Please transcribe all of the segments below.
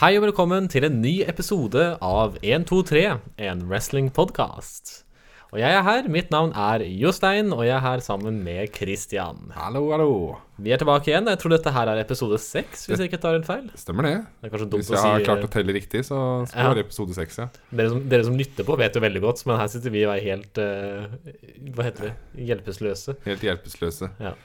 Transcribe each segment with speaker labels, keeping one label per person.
Speaker 1: Hei og velkommen til en ny episode av 123, en wrestlingpodkast. Og jeg er her, mitt navn er Jostein, og jeg er her sammen med Christian.
Speaker 2: Hallo, hallo.
Speaker 1: Vi er tilbake igjen. Jeg tror dette her er episode seks, hvis jeg ikke tar helt feil.
Speaker 2: Stemmer det.
Speaker 1: Det er kanskje dumt
Speaker 2: Hvis jeg har
Speaker 1: å
Speaker 2: klart
Speaker 1: si eh,
Speaker 2: å telle riktig, så skal
Speaker 1: Ja.
Speaker 2: det være episode seks, ja.
Speaker 1: dere som, dere som lytter på, vet jo veldig godt, men her sitter vi og er helt eh, Hva heter det? Hjelpeløse.
Speaker 2: Helt hjelpeløse.
Speaker 1: Ja.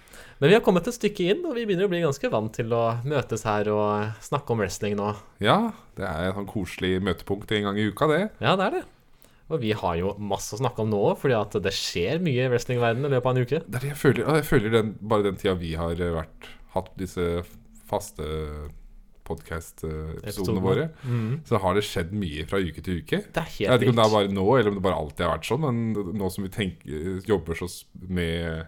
Speaker 1: Men vi har kommet et stykke inn, og vi begynner å bli ganske vant til å møtes her og snakke om wrestling nå.
Speaker 2: Ja, det er et sånn koselig møtepunkt en gang i uka, det.
Speaker 1: Ja, det er det. Og vi har jo masse å snakke om nå òg, fordi at det skjer mye i wrestlingverdenen i løpet av en uke.
Speaker 2: Det er det jeg føler. og Jeg føler den, bare den tida vi har eh, vært, hatt disse faste
Speaker 1: Episodene.
Speaker 2: podkast-episodene våre, så har det skjedd mye fra uke til uke.
Speaker 1: Det er
Speaker 2: Mm. Jeg vet
Speaker 1: helt
Speaker 2: ikke om det er
Speaker 1: vilt.
Speaker 2: bare nå, eller om det bare alltid har vært sånn, men nå som vi tenker, jobber så s- med,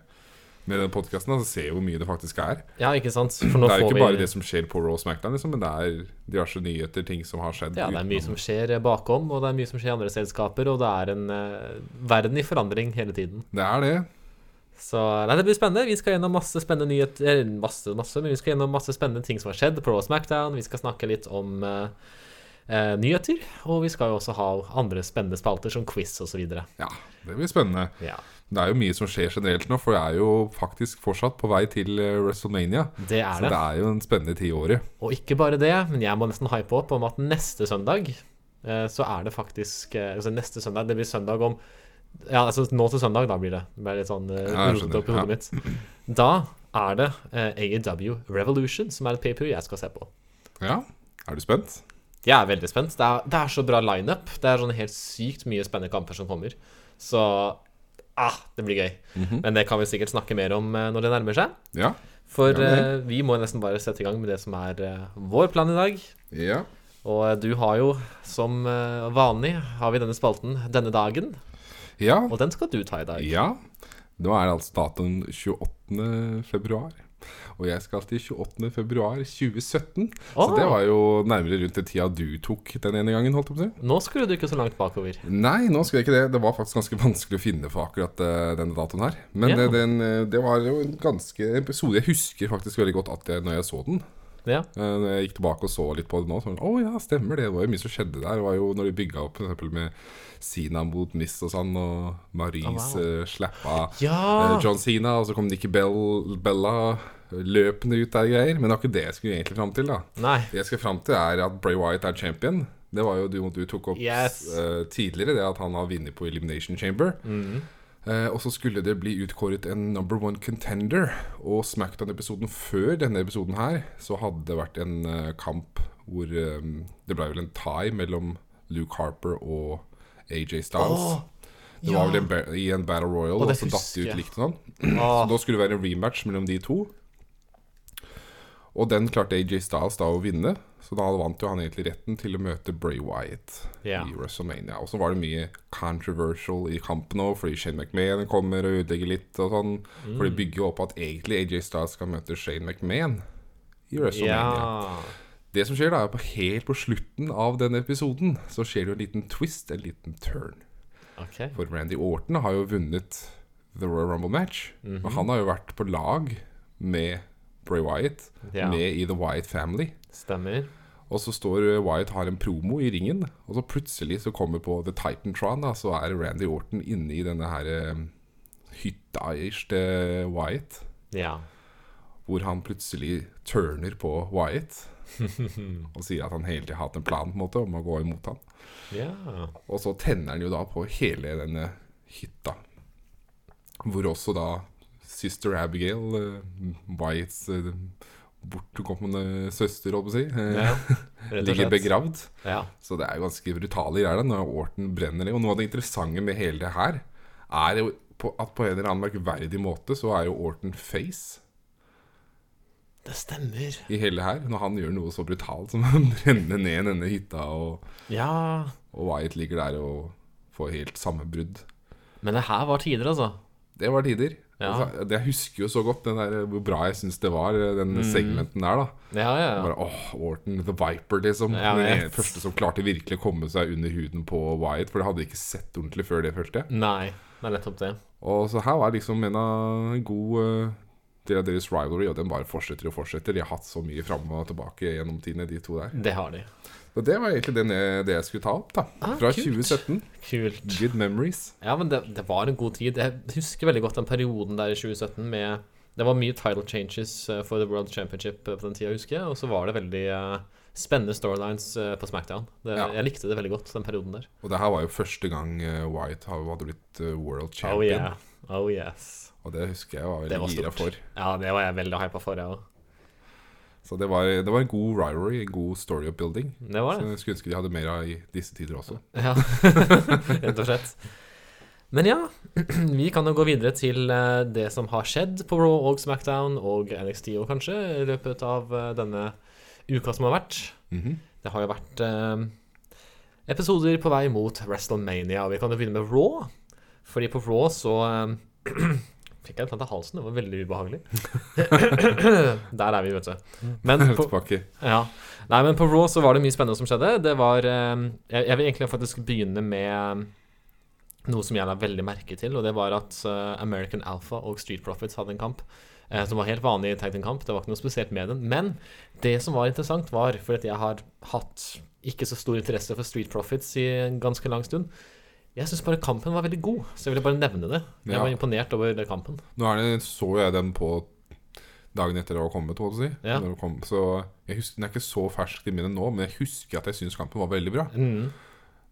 Speaker 2: med den podkasten, så ser vi hvor mye det faktisk er.
Speaker 1: Ja, ikke sant? For nå
Speaker 2: det er jo
Speaker 1: får
Speaker 2: ikke
Speaker 1: vi
Speaker 2: bare det som skjer på Raw og SmackDown, liksom, men det er diverse nyheter, ting som har skjedd.
Speaker 1: Ja, det er mye
Speaker 2: utenom.
Speaker 1: som skjer bakom, og det er mye som skjer i andre selskaper, og det er en eh, verden i forandring hele tiden.
Speaker 2: Det er det.
Speaker 1: Så nei, det blir spennende. Vi skal gjennom masse spennende nyheter eller Masse, masse, men vi skal gjennom masse spennende ting som har skjedd på Raw og Smackdown. Vi skal snakke litt om eh, eh, nyheter, og vi skal jo også ha andre spennende spalter som quiz osv.
Speaker 2: Ja, det blir spennende.
Speaker 1: Ja.
Speaker 2: Det er jo mye som skjer generelt nå, for det er jo faktisk fortsatt på vei til eh, WrestleMania.
Speaker 1: Det er
Speaker 2: Så det
Speaker 1: det.
Speaker 2: er jo en spennende tid i året.
Speaker 1: Og ikke bare det, men jeg må nesten hype opp om at neste søndag eh, så er det faktisk eh, Altså neste søndag, det blir søndag om Ja, altså nå til søndag, da blir det. Det ble litt sånn eh,
Speaker 2: Ja, jeg
Speaker 1: rotet opp i
Speaker 2: skjønner,
Speaker 1: hodet mitt. Da er det eh, AEW Revolution, som er et paper jeg skal se på.
Speaker 2: Ja, er du spent?
Speaker 1: Jeg er veldig spent. Det er, det er så bra lineup. Det er sånn helt sykt mye spennende kamper som kommer. Så ah, det blir gøy.
Speaker 2: Mhm.
Speaker 1: Men det kan vi sikkert snakke mer om eh, når det nærmer seg.
Speaker 2: Ja.
Speaker 1: For
Speaker 2: Ja, men-
Speaker 1: eh, vi må nesten bare sette i gang med det som er eh, vår plan i dag.
Speaker 2: Ja.
Speaker 1: Og eh, du har jo, som eh, vanlig, har vi denne spalten denne dagen.
Speaker 2: Ja.
Speaker 1: Og den skal du ta i dag.
Speaker 2: ja. Nå er det altså datoen 28. februar. Og jeg skal til 28. februar 2017. Så
Speaker 1: Åh.
Speaker 2: det var jo nærmere rundt den tida du tok den ene gangen, holdt jeg på å si.
Speaker 1: Nå skulle du ikke så langt bakover.
Speaker 2: Nei, nå skal jeg ikke det. Det var faktisk ganske vanskelig å finne for akkurat eh, denne datoen her. Men
Speaker 1: Ja.
Speaker 2: det, den, eh, det var jo en ganske episode jeg husker faktisk veldig godt at jeg, når jeg så den.
Speaker 1: Ja,
Speaker 2: Eh, Når jeg gikk tilbake og så litt på det nå, så var det, å ja, stemmer det. Det var jo mye som skjedde der. Det var jo når de bygga opp for eksempel med Sina mot Miss og sånn, og Maries
Speaker 1: Å, wow.
Speaker 2: eh, slappa
Speaker 1: Ja.
Speaker 2: eh, John Sina, og så kom Nikki Bell, Bella løpende ut der og greier. Men det var ikke det jeg skulle egentlig fram til, da.
Speaker 1: Nei.
Speaker 2: Det jeg skal fram til, er at Bray Wyatt er champion. Det var jo du, du tok opp
Speaker 1: Yes.
Speaker 2: eh, tidligere, det at han har vunnet på Elimination Chamber.
Speaker 1: Mm.
Speaker 2: Eh, og så skulle det bli utkåret en number one contender. Og Smackdown-episoden før denne episoden her, så hadde det vært en eh, kamp hvor eh, det ble vel en tie mellom Luke Harper og AJ Styles.
Speaker 1: Åh,
Speaker 2: det
Speaker 1: ja.
Speaker 2: var vel en, ba- i en Battle Royal,
Speaker 1: Å,
Speaker 2: og,
Speaker 1: det
Speaker 2: så datt
Speaker 1: husker
Speaker 2: det
Speaker 1: jeg.
Speaker 2: ut likt og sånn.
Speaker 1: Åh,
Speaker 2: Så da skulle det være en rematch mellom de to. Og den klarte AJ Styles da å vinne, så da vant jo han egentlig retten til å møte Bray Wyatt
Speaker 1: Ja.
Speaker 2: i WrestleMania. Og så var det mye controversial i kampen òg, fordi Shane McMahon kommer og ødelegger litt og sånn.
Speaker 1: Mm.
Speaker 2: For de bygger jo opp at egentlig AJ Styles skal møte Shane McMahon i WrestleMania.
Speaker 1: ja.
Speaker 2: Det som skjer da, er på helt på slutten av denne episoden, så skjer det jo en liten twist, en liten turn.
Speaker 1: OK.
Speaker 2: For Randy Orton har jo vunnet The Royal Rumble match. Og han har jo vært på lag med Bray Wyatt,
Speaker 1: Ja.
Speaker 2: med i The Wyatt Family.
Speaker 1: Stemmer.
Speaker 2: Og så står eh, Wyatt har en promo i ringen, og så plutselig så kommer på The Titantron, da, så er Randy Orton inne i denne her eh, hytta-ish til Wyatt.
Speaker 1: Ja.
Speaker 2: Hvor han plutselig turner på Wyatt og sier at han hele tiden har hatt en plan på en måte om å gå imot han.
Speaker 1: Ja.
Speaker 2: Og så tenner han jo da på hele denne hytta. Hvor også da Sister Abigail, eh, Wyaghts eh, bortkomne søster, holdt på å si, eh,
Speaker 1: ja. Rett og
Speaker 2: ligger
Speaker 1: slett.
Speaker 2: begravd.
Speaker 1: Ja.
Speaker 2: Så det er jo ganske brutale greier der, når Orton brenner ned. Og noe av det interessante med hele det her, er jo på, at på en eller annen merkverdig måte så er jo Orton face
Speaker 1: Det stemmer.
Speaker 2: i hele her, når han gjør noe så brutalt som å brenne ned denne hytta, og,
Speaker 1: Ja.
Speaker 2: og Wyatt ligger der og får helt sammenbrudd.
Speaker 1: Men det her var tider, altså.
Speaker 2: Det var tider.
Speaker 1: Ja.
Speaker 2: Altså, det- jeg husker jo så godt den der, hvor bra jeg syns det var, eh, den
Speaker 1: Mm.
Speaker 2: segmenten der. da
Speaker 1: Ja, ja. ja.
Speaker 2: Bare, åh, Orton, The Viper, liksom.
Speaker 1: Ja,
Speaker 2: den
Speaker 1: jeg
Speaker 2: ene-
Speaker 1: vet.
Speaker 2: første som klarte virkelig å komme seg under huden på Wyatt. For det hadde jeg ikke sett ordentlig før det, følte jeg.
Speaker 1: Nei. Det er nettopp det.
Speaker 2: Og så her var liksom en av en god eh, til at deres rivalry, og den bare fortsetter og fortsetter. De har hatt så mye fram og tilbake gjennom tidene, de to der.
Speaker 1: Det har de.
Speaker 2: Og det var egentlig den jeg, det jeg skulle ta opp, da.
Speaker 1: Ah,
Speaker 2: Fra
Speaker 1: kult.
Speaker 2: 2017.
Speaker 1: Kult.
Speaker 2: Good memories.
Speaker 1: Ja, men det, det var en god tid. Jeg husker veldig godt den perioden der i 2017 med Det var mye title changes eh, for The World Championship eh, på den tida, husker jeg. Og så var det veldig eh, spennende storylines eh, på SmackDown. Det,
Speaker 2: Ja.
Speaker 1: Jeg likte det veldig godt, den perioden der.
Speaker 2: Og det her var jo første gang eh, White hadde blitt eh, world
Speaker 1: Oh
Speaker 2: champion.
Speaker 1: yeah. Oh yes.
Speaker 2: Og det husker jeg var
Speaker 1: Det var
Speaker 2: veldig gira
Speaker 1: stort.
Speaker 2: for.
Speaker 1: Ja, det var jeg veldig hypa for, jeg òg.
Speaker 2: Så det var, det var en god rivalry, en god story upbuilding.
Speaker 1: Det var det.
Speaker 2: Så jeg skulle ønske de hadde mer av i disse tider også.
Speaker 1: Ja, rett og slett. Men ja, vi kan jo gå videre til eh, det som har skjedd på Raw og Smackdown, og NXT og kanskje, i løpet av eh, denne uka som har vært.
Speaker 2: Mhm.
Speaker 1: Det har jo vært eh, episoder på vei mot WrestleMania, og vi kan jo begynne med Raw. Fordi på Raw så eh, fikk jeg en plant i halsen, det var veldig ubehagelig. Der er vi, vet du. Men på,
Speaker 2: Tilbake.
Speaker 1: ja. Nei, men på Raw så var det mye spennende som skjedde. Det var eh, Jeg, jeg vil egentlig faktisk begynne med eh, noe som jeg la veldig merke til, og det var at eh, American Alpha og Street Profits hadde en kamp. eh, Som var helt vanlig tag team-kamp. Det var ikke noe spesielt med den. Men det som var interessant, var fordi at jeg har hatt ikke så stor interesse for Street Profits i en ganske lang stund. Jeg syns bare kampen var veldig god, så jeg ville bare nevne det. Jeg
Speaker 2: Ja.
Speaker 1: var imponert over den kampen.
Speaker 2: Nå er det, så jeg den på dagen etter det var kommet, holdt jeg på å si.
Speaker 1: Ja.
Speaker 2: Når det kom, så jeg husker, den er ikke så fersk i minnet nå, men jeg husker at jeg syns kampen var veldig bra.
Speaker 1: Mm.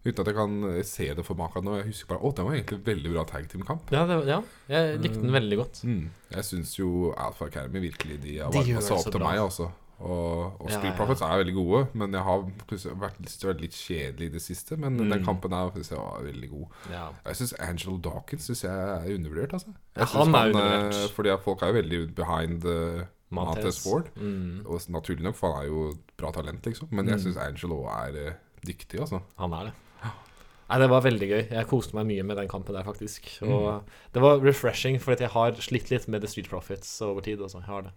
Speaker 2: Uten at jeg kan se det for meg akkurat nå. Jeg husker bare å, den var egentlig veldig bra tag team-kamp.
Speaker 1: Ja, det, ja, jeg likte den veldig godt.
Speaker 2: Mm. Jeg syns jo Alpha Academy virkelig de har
Speaker 1: De
Speaker 2: varmet
Speaker 1: gjør
Speaker 2: seg
Speaker 1: så
Speaker 2: opp til
Speaker 1: bra.
Speaker 2: meg, altså. Og, og
Speaker 1: Ja,
Speaker 2: Street
Speaker 1: ja.
Speaker 2: Profits er veldig gode, men jeg har plutselig vært, litt- vært litt kjedelig i det siste. Men
Speaker 1: Mm.
Speaker 2: den kampen er faktisk ja, veldig god.
Speaker 1: Ja.
Speaker 2: Jeg syns Angelo Dawkins synes jeg er undervurdert, altså.
Speaker 1: Ja,
Speaker 2: Jeg
Speaker 1: han
Speaker 2: synes
Speaker 1: er
Speaker 2: eh,
Speaker 1: undervurdert.
Speaker 2: Fordi at folk er jo veldig behind uh,
Speaker 1: Montez.
Speaker 2: Montez Ford.
Speaker 1: Mm.
Speaker 2: Og s- naturlig nok, for han er jo et bra talent, liksom. Men
Speaker 1: Mm.
Speaker 2: jeg syns Angelo er eh, dyktig, altså.
Speaker 1: Han er det. Nei, Det var veldig gøy. Jeg koste meg mye med den kampen der, faktisk.
Speaker 2: Mm.
Speaker 1: Og Det var refreshing, for at jeg har slitt litt med The Street Profits over tid. Også. Jeg har det.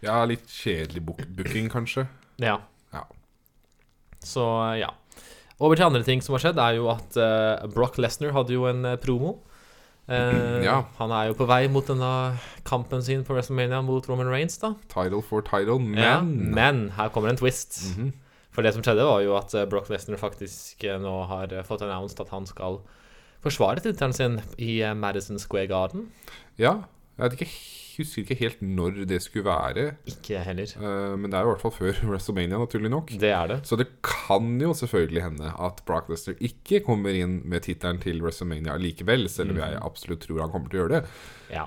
Speaker 2: Jeg har litt kjedelig book booking, kanskje.
Speaker 1: Ja.
Speaker 2: Ja.
Speaker 1: Så ja. Over til andre ting som har skjedd, er jo at eh, Brock Lesnar hadde jo en eh, promo. Eh,
Speaker 2: Ja.
Speaker 1: Han er jo på vei mot denne kampen sin på WrestleMania mot Roman Reigns, da.
Speaker 2: Title for title, men
Speaker 1: Ja, men her kommer en twist.
Speaker 2: Mhm.
Speaker 1: For det som skjedde, var jo at eh, Brock Lesnar faktisk eh, nå har eh, fått announced at han skal forsvare tittelen sin i eh, Madison Square Garden.
Speaker 2: Ja. Jeg vet ikke, husker ikke helt når det skulle være,
Speaker 1: Ikke jeg heller.
Speaker 2: eh, men det er jo i hvert fall før WrestleMania, naturlig nok.
Speaker 1: Det er det.
Speaker 2: Så det kan jo selvfølgelig hende at Brock Lesnar ikke kommer inn med tittelen til WrestleMania likevel, selv om
Speaker 1: Mhm.
Speaker 2: jeg absolutt tror han kommer til å gjøre det.
Speaker 1: Ja.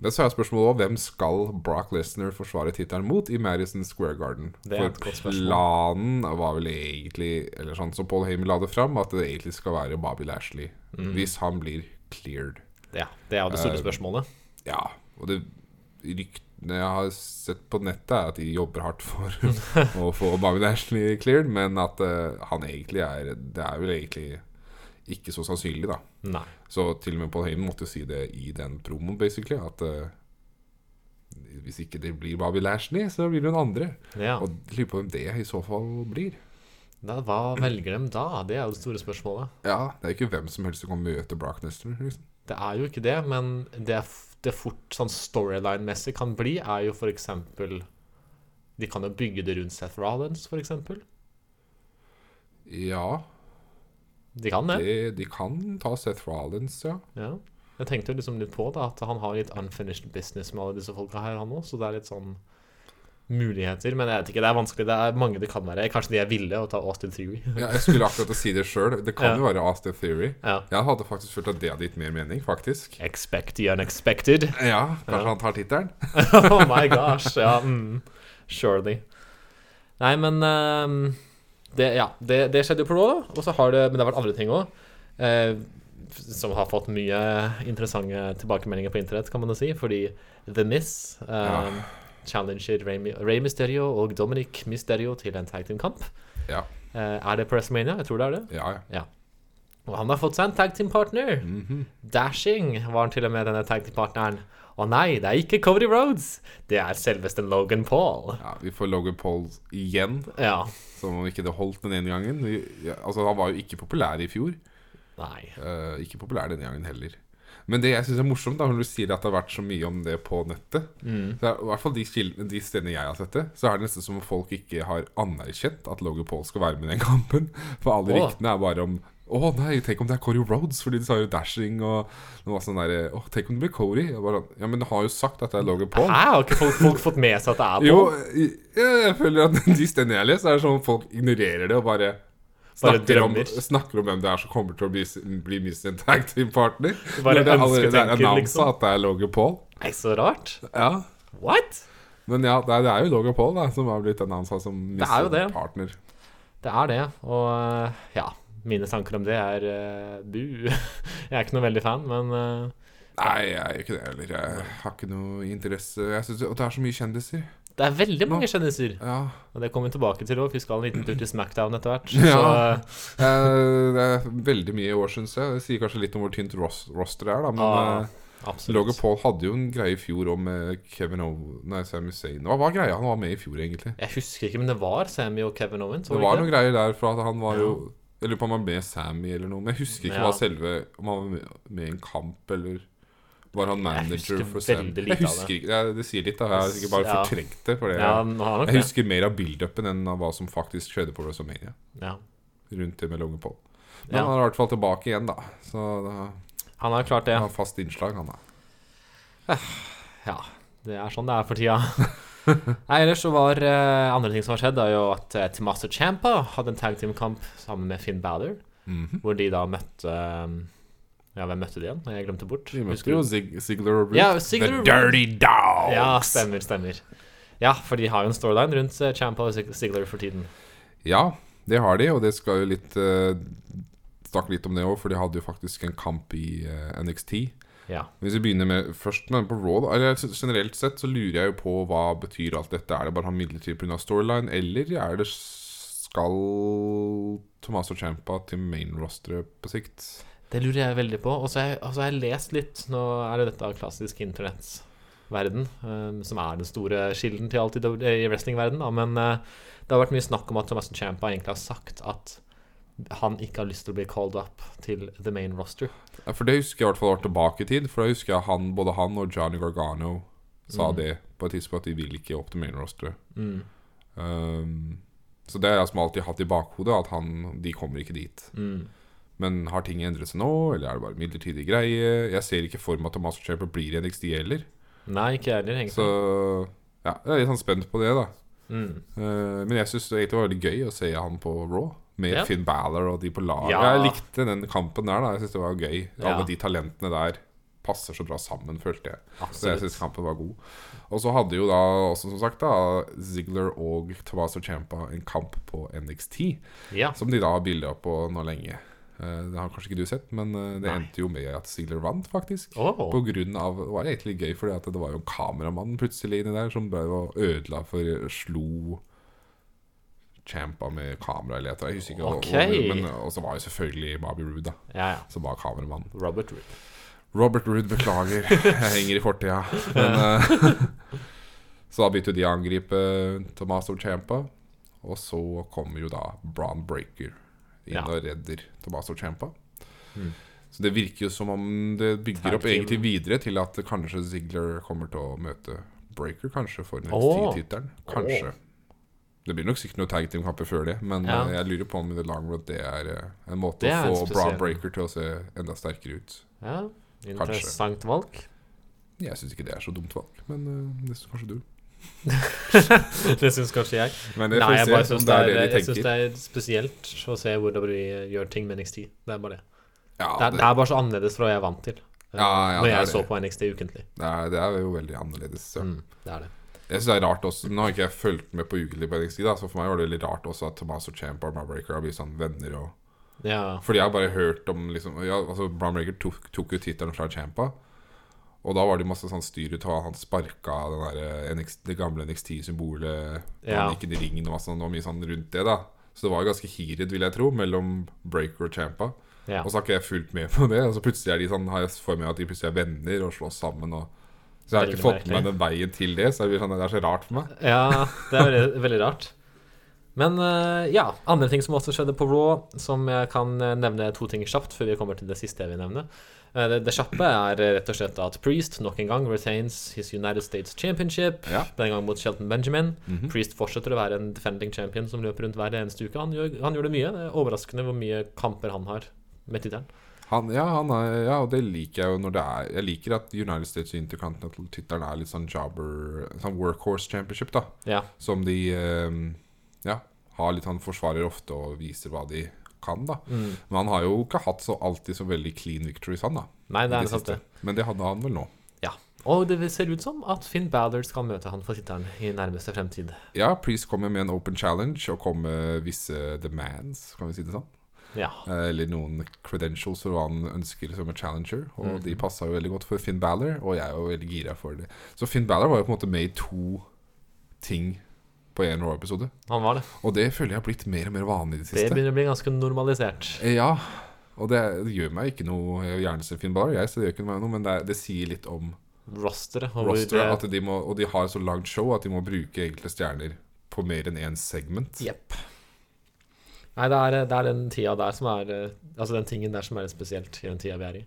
Speaker 2: Men så er spørsmålet også, hvem skal Brock Lesnar forsvare tittelen mot i Madison Square Garden?
Speaker 1: Det er et
Speaker 2: For
Speaker 1: godt spørsmål.
Speaker 2: planen var vel egentlig, eller sånn som Paul Heyman la det fram, at det egentlig skal være Bobby Lashley.
Speaker 1: Mhm.
Speaker 2: Hvis han blir cleared.
Speaker 1: ja. Det er jo det store
Speaker 2: Eh,
Speaker 1: spørsmålet.
Speaker 2: Ja, og det ryktene jeg har sett på nettet, er at de jobber hardt for å få Bobby Lashley cleared, men at eh, han egentlig er Det er vel egentlig ikke så sannsynlig, da.
Speaker 1: Nei.
Speaker 2: Så til og med Paul Heyman måtte jo si det i den promoen, basically, at eh, hvis ikke det blir Bobby Lashley, så blir det noen andre.
Speaker 1: Ja.
Speaker 2: Og lurer på hvem det i så fall blir.
Speaker 1: Da, hva velger de da? Det er jo det store spørsmålet.
Speaker 2: Ja, det er jo ikke hvem som helst som kan møte Brock Nestor, liksom.
Speaker 1: Det er jo ikke det, men det, er f- det fort sånn storyline-messig kan bli, er jo for eksempel De kan jo bygge det rundt Seth Rollins, for eksempel.
Speaker 2: Ja,
Speaker 1: De kan det.
Speaker 2: det, de kan ta Seth Rollins, ja.
Speaker 1: Ja. Jeg tenkte jo liksom litt på da, at han har litt unfinished business med alle disse folka her, han òg, så det er litt sånn muligheter. Men jeg vet ikke, det er vanskelig. Det er mange det kan være. Kanskje de er ville å ta Austin Theory.
Speaker 2: Ja, jeg skulle akkurat å si det sjøl. Det kan
Speaker 1: Ja.
Speaker 2: jo være Austin Theory.
Speaker 1: ja.
Speaker 2: Jeg hadde faktisk følt at det hadde gitt mer mening, faktisk.
Speaker 1: Expect the unexpected.
Speaker 2: Ja, kanskje
Speaker 1: Ja.
Speaker 2: han tar tittelen?
Speaker 1: oh my gosh. Ja, mm. surely. Nei, men ehm, det, Ja, det, det skjedde jo på Raw, da. Og så har det Men det har vært andre ting òg. som har fått mye interessante tilbakemeldinger på internett, kan man jo si. Fordi The Miss ehm,
Speaker 2: Ja.
Speaker 1: challenger Rey Mi- Rey Mysterio og Dominic Mysterio til en tag team-kamp.
Speaker 2: Ja.
Speaker 1: Eh, er det på WrestleMania? Jeg tror det er det.
Speaker 2: Ja, ja.
Speaker 1: Og han har fått seg en tag team-partner.
Speaker 2: Mhm.
Speaker 1: Dashing var han til og med denne tag team-partneren. Å nei, det er ikke Cody Rhodes. Det er selveste Logan Paul.
Speaker 2: ja vi får Logan Paul igjen,
Speaker 1: Ja.
Speaker 2: som om ikke det holdt den ene gangen. Vi, ja, altså, han var jo ikke populær i fjor.
Speaker 1: Nei.
Speaker 2: Eh, ikke populær denne gangen heller. Men det jeg syns er morsomt, da, når du sier at det har vært så mye om det på nettet så er, I hvert fall de, kildene- de stedene jeg har sett det, så er det nesten som om folk ikke har anerkjent at Logan Paul skal være med i den kampen. For alle
Speaker 1: Åh.
Speaker 2: ryktene er bare om å nei, tenk om det er Cody Rhodes, fordi de sa jo dashing og det var sånn derre Å, tenk om det blir Cody? Jeg bare, ja, men det har jo sagt at det er Logan Paul.
Speaker 1: Hæ, har ikke folk, folk fått med seg at det er på?
Speaker 2: Jo, jeg, jeg føler at de stedene jeg leser, er sånn at folk ignorerer det og bare
Speaker 1: Bare
Speaker 2: snakker om,
Speaker 1: drømmer.
Speaker 2: snakker om hvem det er som kommer til å bli, bli Miss and Tag Team Partner.
Speaker 1: Bare
Speaker 2: når det allerede er
Speaker 1: ønsketenker,
Speaker 2: annonsa
Speaker 1: liksom.
Speaker 2: at det er Logan Paul.
Speaker 1: Nei, så rart.
Speaker 2: Ja.
Speaker 1: What?
Speaker 2: Men ja, det er, det er jo Logan Paul da, som har blitt annonsa som Miss
Speaker 1: er jo
Speaker 2: and
Speaker 1: det.
Speaker 2: Partner.
Speaker 1: Det er det, og eh, ja. Mine tanker om det er eh, bu. Jeg er ikke noe veldig fan, men eh,
Speaker 2: Nei, jeg er jo ikke det heller. Jeg har ikke noe interesse Jeg synes, Og det er så mye kjendiser.
Speaker 1: det er veldig mange kjendiser.
Speaker 2: Ja.
Speaker 1: Og det kommer vi tilbake til òg. Vi skal en liten tur til Smackdown etter hvert.
Speaker 2: Ja.
Speaker 1: Så
Speaker 2: Eh, Det er veldig mye i år, syns jeg. Det sier kanskje litt om hvor tynt ros roster er, da. Men
Speaker 1: Ah,
Speaker 2: eh, Logan
Speaker 1: absolutt.
Speaker 2: Paul hadde jo en greie i fjor om eh, Kevin O... Nei, Sami Zayn. Hva var greia han var med i fjor, egentlig?
Speaker 1: Jeg husker ikke, men det var Sammy og Kevin Owens.
Speaker 2: Det
Speaker 1: det
Speaker 2: var
Speaker 1: ikke det?
Speaker 2: noen greier der, for at han var jo Jeg lurer på om han var med Sammy eller noe. Men jeg husker ikke
Speaker 1: Ja.
Speaker 2: hva selve Om han var med, med i en kamp, eller var han manager
Speaker 1: husker
Speaker 2: for Sammy?
Speaker 1: veldig lite
Speaker 2: Jeg
Speaker 1: av
Speaker 2: husker ikke det. Det sier litt, da. Jeg har sikkert bare
Speaker 1: Ja.
Speaker 2: fortrengt det. For det.
Speaker 1: Ja, han har nok
Speaker 2: jeg
Speaker 1: det.
Speaker 2: husker mer av build-upen enn av hva som faktisk skjedde på WrestleMania.
Speaker 1: Ja.
Speaker 2: Rundt det med Logan Paul. Men
Speaker 1: Ja.
Speaker 2: han er i hvert fall tilbake igjen, da. Så da,
Speaker 1: Han har klart det.
Speaker 2: han har fast innslag, han da.
Speaker 1: Ja. Det er sånn det er for tida. Nei, ellers så var eh, andre ting som har skjedd, er jo at uh, Tommaso Champa hadde en tag team-kamp sammen med Finn Balor,
Speaker 2: Mhm.
Speaker 1: hvor de da møtte eh, Ja, hvem møtte de igjen? Jeg glemte bort.
Speaker 2: Vi
Speaker 1: Husker
Speaker 2: møtte
Speaker 1: du?
Speaker 2: jo Zig Zigler og Brute.
Speaker 1: Ja, Ziggler
Speaker 2: The
Speaker 1: og Brute.
Speaker 2: Dirty Dogs!
Speaker 1: Ja, stemmer, stemmer. Ja, for de har jo en storyline rundt eh, Ciampa og Zig- Ziggler for tiden.
Speaker 2: Ja, det har de, og det skal jo litt eh, snakke litt om det òg, for de hadde jo faktisk en kamp i eh, NXT.
Speaker 1: Ja.
Speaker 2: Hvis vi begynner med først med på Raw, da, eller s- generelt sett, så lurer jeg jo på hva betyr alt dette. Er det bare han midlertidig pga. storyline, eller er det skal Tomaso Champa til main-rosteret på sikt?
Speaker 1: Det lurer jeg veldig på. Og så har jeg- og så har jeg lest litt. Nå er det dette klassisk internettverden um, som er den store kilden til alt i, do- i wrestlingverden, da. Men eh, det har vært mye snakk om at Thomas Champa egentlig har sagt at han ikke har lyst til å bli called up til the main roster.
Speaker 2: Ja, For det husker jeg i hvert fall var tilbake i tid, for da husker jeg han, både han og Johnny Gargano sa det på et tidspunkt at de vil ikke opp til main-rosteret.
Speaker 1: Mm.
Speaker 2: Um, så det har jeg som alltid hatt i bakhodet, at han, de kommer ikke dit.
Speaker 1: Mm.
Speaker 2: Men har ting endret seg nå, eller er det bare midlertidig greie? Jeg ser ikke for meg at Thomas Champer blir i NXT heller.
Speaker 1: Nei, ikke jeg heller, egentlig.
Speaker 2: Så ja, jeg er litt sånn spent på det, da.
Speaker 1: Mm.
Speaker 2: Eh, men jeg syns det egentlig var veldig gøy å se han på Raw. Med
Speaker 1: Ja.
Speaker 2: Finn Balor og de på laget.
Speaker 1: Ja.
Speaker 2: Jeg likte den kampen der. da Jeg synes det var gøy.
Speaker 1: Ja.
Speaker 2: Alle de talentene der passer så bra sammen, følte jeg. Så jeg
Speaker 1: Absolutt.
Speaker 2: syns kampen var god. Og så hadde jo da også, som sagt, da Ziegler og Tomaso Champa en kamp på NXT,
Speaker 1: Ja.
Speaker 2: som de da har bilde opp på nå lenge. Eh, Det har kanskje ikke du sett, men eh, det
Speaker 1: Nei.
Speaker 2: endte jo med at Ziegler vant, faktisk.
Speaker 1: Åh.
Speaker 2: På grunn av, Det var egentlig gøy, fordi at det var jo en kameramann plutselig inni der som drev og ødela for slo Champa med kamera eller et eller annet. Jeg husker ikke
Speaker 1: Ok.
Speaker 2: hva- men- Og så var jo selvfølgelig Bobby Roode, da,
Speaker 1: Ja, ja.
Speaker 2: som var kameramann.
Speaker 1: Robert Root.
Speaker 2: Robert Rood, beklager. Jeg henger i fortida. Men, eh, så da begynte de å angripe Tomaso Champa. Og så kommer jo da Bron Breaker inn
Speaker 1: Ja.
Speaker 2: og redder Tomaso Champa.
Speaker 1: Mm.
Speaker 2: Så det virker jo som om det bygger
Speaker 1: Tag
Speaker 2: opp
Speaker 1: team.
Speaker 2: egentlig videre til at kanskje Ziegler kommer til å møte Breaker, kanskje, for
Speaker 1: Åh.
Speaker 2: NXT-tittelen. Kanskje. Det blir nok sikkert noen tag team-kamper før det, men
Speaker 1: Ja.
Speaker 2: eh, jeg lurer på om i the long run det er eh, en måte
Speaker 1: Det er en
Speaker 2: å få Bron
Speaker 1: spesiell-
Speaker 2: Breaker til å se enda sterkere ut.
Speaker 1: Ja. Interessant valg.
Speaker 2: Jeg syns ikke det er så dumt valg, men øh, det syns kanskje du.
Speaker 1: det syns kanskje jeg.
Speaker 2: Men
Speaker 1: Nei, jeg bare syns det, er- jeg synes
Speaker 2: tenker.
Speaker 1: det er spesielt å se hvordan vi gjør ting med NXT. Det er bare det.
Speaker 2: ja,
Speaker 1: Det er, det er bare så annerledes fra hva jeg er vant til. eh,
Speaker 2: Ja, ja,
Speaker 1: når
Speaker 2: det er
Speaker 1: jeg
Speaker 2: det.
Speaker 1: så på NXT ukentlig.
Speaker 2: det, er, det er jo veldig annerledes. Ja.
Speaker 1: Mm, det er det.
Speaker 2: Jeg syns det er rart også Nå har ikke jeg fulgt med på ukentlig på NXT, da, så for meg var det veldig rart også at Tomas og Champ og Brownbreaker har blitt sånn venner og
Speaker 1: Ja,
Speaker 2: Fordi jeg har bare hørt om liksom ja, altså Brownbreaker tok, tok jo tittelen fra Champa. Og da var det masse sånn styr ut av at han sparka den der, eh, NXT, det gamle NXT-symbolet ja.
Speaker 1: Ja.
Speaker 2: Han gikk inn i ringen og masse sånn, og mye sånn rundt det. da Så det var jo ganske heated, vil jeg tro, mellom Breaker og Champa.
Speaker 1: ja.
Speaker 2: Og så har ikke jeg fulgt med på det. Og så plutselig er de sånn, har jeg for meg at de plutselig er venner og slåss sammen. Og, så jeg har
Speaker 1: Veldig
Speaker 2: ikke fått med
Speaker 1: merkelig.
Speaker 2: meg den veien til det. Så jeg blir sånn, det er så rart for meg.
Speaker 1: ja det er veldig, veldig rart. Men eh, ja, andre ting som også skjedde på Raw, som jeg kan eh, nevne to ting kjapt før vi kommer til det siste jeg vil nevne. Eh, Det, det kjappe er eh, rett og slett at Priest nok en gang retains his United States Championship.
Speaker 2: Ja.
Speaker 1: Denne gangen mot Shelton Benjamin.
Speaker 2: Mhm.
Speaker 1: Priest fortsetter å være en defending champion som løper rundt hver eneste uke. Han gjør, han gjør det mye. Det er overraskende hvor mye kamper han har med tittelen.
Speaker 2: Han, ja, han er, ja, og det liker jeg jo når det er Jeg liker at United States Intercontinental-tittelen er litt sånn jobber Sånn workhorse championship, da.
Speaker 1: Ja.
Speaker 2: Som de eh, ja, har litt sånn forsvarer ofte og viser hva de kan, da.
Speaker 1: Mm.
Speaker 2: Men han har jo ikke hatt så alltid så veldig clean victories, han, da.
Speaker 1: Nei, det
Speaker 2: i
Speaker 1: er
Speaker 2: det
Speaker 1: det sant,
Speaker 2: siste.
Speaker 1: det.
Speaker 2: Men det hadde han vel nå.
Speaker 1: Ja. Og det ser ut som at Finn Balor skal møte han for tittelen i nærmeste fremtid.
Speaker 2: Ja, Priest kommer med en open challenge og kommer visse demands, kan vi si det sånn.
Speaker 1: Ja.
Speaker 2: Eh, Eller noen credentials for hva han ønsker som en challenger. Og
Speaker 1: Mhm.
Speaker 2: de passa jo veldig godt for Finn Balor, og jeg er jo veldig gira for det. Så Finn Balor var jo på en måte med i to ting på én Raw-episode.
Speaker 1: Han var det.
Speaker 2: Og det føler jeg har blitt mer og mer vanlig i det
Speaker 1: Det
Speaker 2: siste.
Speaker 1: begynner å bli ganske normalisert.
Speaker 2: Eh, Ja, og det, det gjør meg ikke noe Jeg vil gjerne se Finn Balor, jeg, så det gjør ikke meg noe, men det, er- det sier litt om
Speaker 1: Rosteret. og hvor-
Speaker 2: rosteret. At de må, og de har så langt show at de må bruke enkelte stjerner på mer enn én segment.
Speaker 1: Jepp. Nei, det er, det er den tida der som er eh, Altså den tingen der som er litt spesielt i den tida vi er i.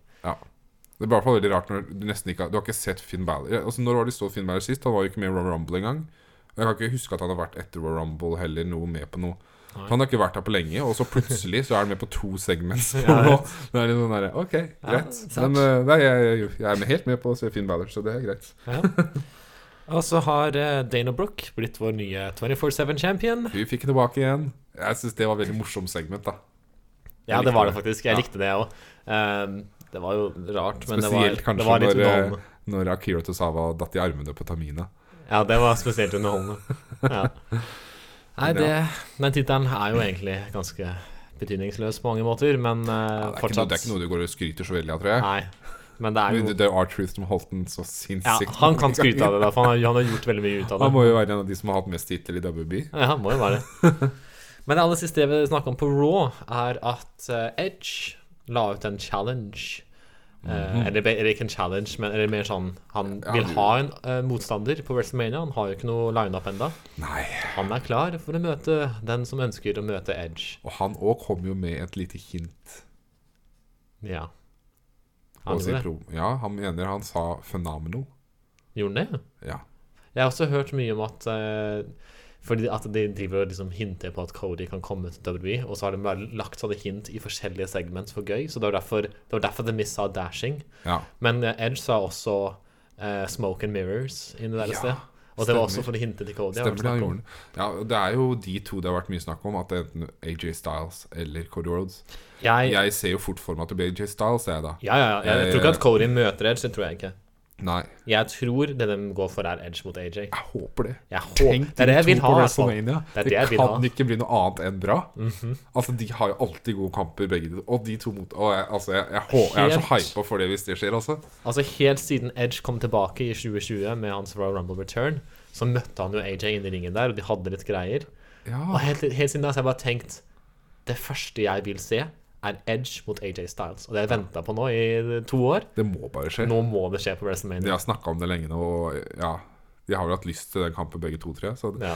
Speaker 2: Det er i hvert fall veldig rart når du nesten ikke har Du har ikke sett Finn Balor. Ja, Altså, når var det så Finn Balor sist? Han var jo ikke med i Royal Rumble engang. Og Jeg kan ikke huske at han har vært etter Royal Rumble heller noe med på noe.
Speaker 1: Nei.
Speaker 2: Han har ikke vært her på lenge, og så plutselig så er han med på to segments. på
Speaker 1: Ja,
Speaker 2: Raw. det er litt sånn derre OK, greit.
Speaker 1: sant.
Speaker 2: Men eh, nei, jeg, jeg, jeg er med- helt med på å se Finn Balor, så det er greit.
Speaker 1: Ja. Og så har eh, Dana Brooke blitt vår nye 24-7-champion.
Speaker 2: Vi fikk tilbake igjen. Jeg syns det var et veldig morsomt segment, da.
Speaker 1: Ja, det
Speaker 2: Jeg likte
Speaker 1: var det
Speaker 2: det.
Speaker 1: faktisk. Jeg
Speaker 2: Ja.
Speaker 1: likte det òg. det var jo rart, men
Speaker 2: Spesielt
Speaker 1: det var,
Speaker 2: kanskje
Speaker 1: det var litt
Speaker 2: når, eh,
Speaker 1: underholdende.
Speaker 2: når Akira Tosawa datt i armene på Tamina.
Speaker 1: Ja, det var spesielt underholdende. Ja. Nei,
Speaker 2: Ja.
Speaker 1: det, den tittelen er jo egentlig ganske betydningsløs på mange måter, men eh,
Speaker 2: Ja, det, er ikke noe,
Speaker 1: fortsatt
Speaker 2: det er ikke noe du går og skryter så veldig av, tror jeg.
Speaker 1: Nei. Men det er
Speaker 2: Men
Speaker 1: jo
Speaker 2: det, det er R-Truth som holdt den så
Speaker 1: ja,
Speaker 2: sinnssykt
Speaker 1: Han kan
Speaker 2: mange
Speaker 1: skryte av
Speaker 2: ganger.
Speaker 1: det, da, for han har, han har gjort veldig mye ut av det.
Speaker 2: Han må jo være en av de som har hatt mest titler i WB.
Speaker 1: Ja, han må jo være det. Men det aller siste jeg vil snakke om på Raw, er at eh, Edge la ut en challenge. Eh, eller, be- eller ikke en challenge, men eller mer sånn Han
Speaker 2: Ja,
Speaker 1: vil
Speaker 2: du-
Speaker 1: ha en eh, motstander på WrestleMania. Han har jo ikke noe lineup enda
Speaker 2: Nei.
Speaker 1: Han er klar for å møte den som ønsker å møte Edge.
Speaker 2: Og han òg kom jo med et lite hint.
Speaker 1: Ja.
Speaker 2: på
Speaker 1: Han
Speaker 2: sin
Speaker 1: gjorde det.
Speaker 2: pro- ja, han mener han sa 'phenomenal'.
Speaker 1: Gjorde han det?
Speaker 2: Ja.
Speaker 1: Jeg har også hørt mye om at eh, fordi at de driver og liksom hinter på at Cody kan komme til WWE, og så har de bare lagt sånne hint i forskjellige segments for gøy, så det var derfor, det var derfor de missa dashing.
Speaker 2: ja.
Speaker 1: Men eh, Edge sa også eh, smoke and mirrors inni der
Speaker 2: Ja,
Speaker 1: et sted. Og det var også
Speaker 2: stemmer.
Speaker 1: for å hinte til Cody. har
Speaker 2: Stemmer
Speaker 1: vært
Speaker 2: det, han
Speaker 1: snakk om.
Speaker 2: gjorde den. Ja, og det er jo de to det har vært mye snakk om, at det er enten AJ Styles eller Cody Rhodes.
Speaker 1: Jeg, ja,
Speaker 2: Jeg ser jo fort for meg at det blir AJ Styles, jeg, da.
Speaker 1: ja, ja. Jeg,
Speaker 2: Jeg-
Speaker 1: tror ikke at Cody møter Edge, det tror jeg ikke.
Speaker 2: Nei,
Speaker 1: Jeg tror det de går for, er Edge mot AJ.
Speaker 2: jeg håper det.
Speaker 1: Jeg håper, det er det jeg vil ha, i hvert fall.
Speaker 2: Det,
Speaker 1: Det er
Speaker 2: det
Speaker 1: det jeg vil
Speaker 2: kan
Speaker 1: ha. Mhm.
Speaker 2: ikke bli noe annet enn bra. Altså, De har jo alltid gode kamper, begge de Og de to mot og jeg, altså, jeg, jeg, hå- jeg er så
Speaker 1: Helt.
Speaker 2: hypa for det hvis det skjer, altså.
Speaker 1: Altså Helt siden Edge kom tilbake i 2020 med hans Royal Rumble Return, så møtte han jo AJ inne i ringen der, og de hadde litt greier. Og
Speaker 2: Ja,
Speaker 1: helt, helt siden da så har jeg bare tenkt Det første jeg vil se, er Edge mot AJ Styles. Og det har jeg venta på nå i to år.
Speaker 2: Det må bare skje.
Speaker 1: Nå må det skje på
Speaker 2: De
Speaker 1: WrestleMania.
Speaker 2: har snakka om det lenge nå, og ja De har vel hatt lyst til den kampen, begge to, tror jeg. Så
Speaker 1: Ja.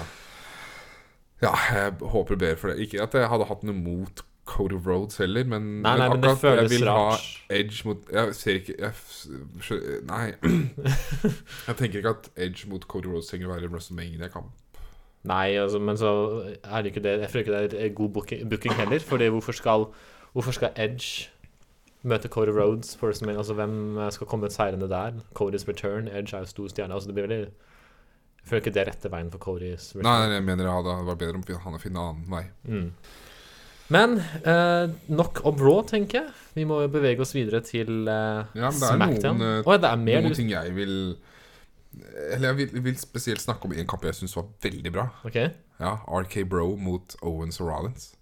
Speaker 2: ja, jeg håper bedre for det. Ikke at jeg hadde hatt noe mot Cody Roads heller, men,
Speaker 1: Nei, nei, men det føles
Speaker 2: jeg vil
Speaker 1: rart.
Speaker 2: ha Edge mot Jeg ser ikke jeg, f- skjø- Nei. jeg tenker ikke at Edge mot Cody Roads trenger å være en WrestleMania-kamp.
Speaker 1: Nei, altså, men så er det ikke det Jeg føler ikke det er god booking, booking heller. Fordi hvorfor skal, hvorfor skal Edge møte Cody Rhodes? For WrestleMania? altså, hvem eh, skal komme ut seirende der? Codys return. Edge er jo stor stjerne. Altså, det blir veldig Jeg føler ikke det er rette veien for Codys return.
Speaker 2: Nei, jeg mener det hadde vært bedre om han hadde funnet en annen vei.
Speaker 1: Mm. Men eh, nok om Raw, tenker jeg. Vi må jo bevege oss videre til eh,
Speaker 2: Ja, men det er
Speaker 1: Smackdown.
Speaker 2: noen, eh,
Speaker 1: Å, ja, det er mer
Speaker 2: Noen
Speaker 1: du
Speaker 2: ting jeg vil Eller jeg vil, vil spesielt snakke om en kamp jeg syns var veldig bra.
Speaker 1: OK.
Speaker 2: Ja, RK Bro mot Owens og Rollins.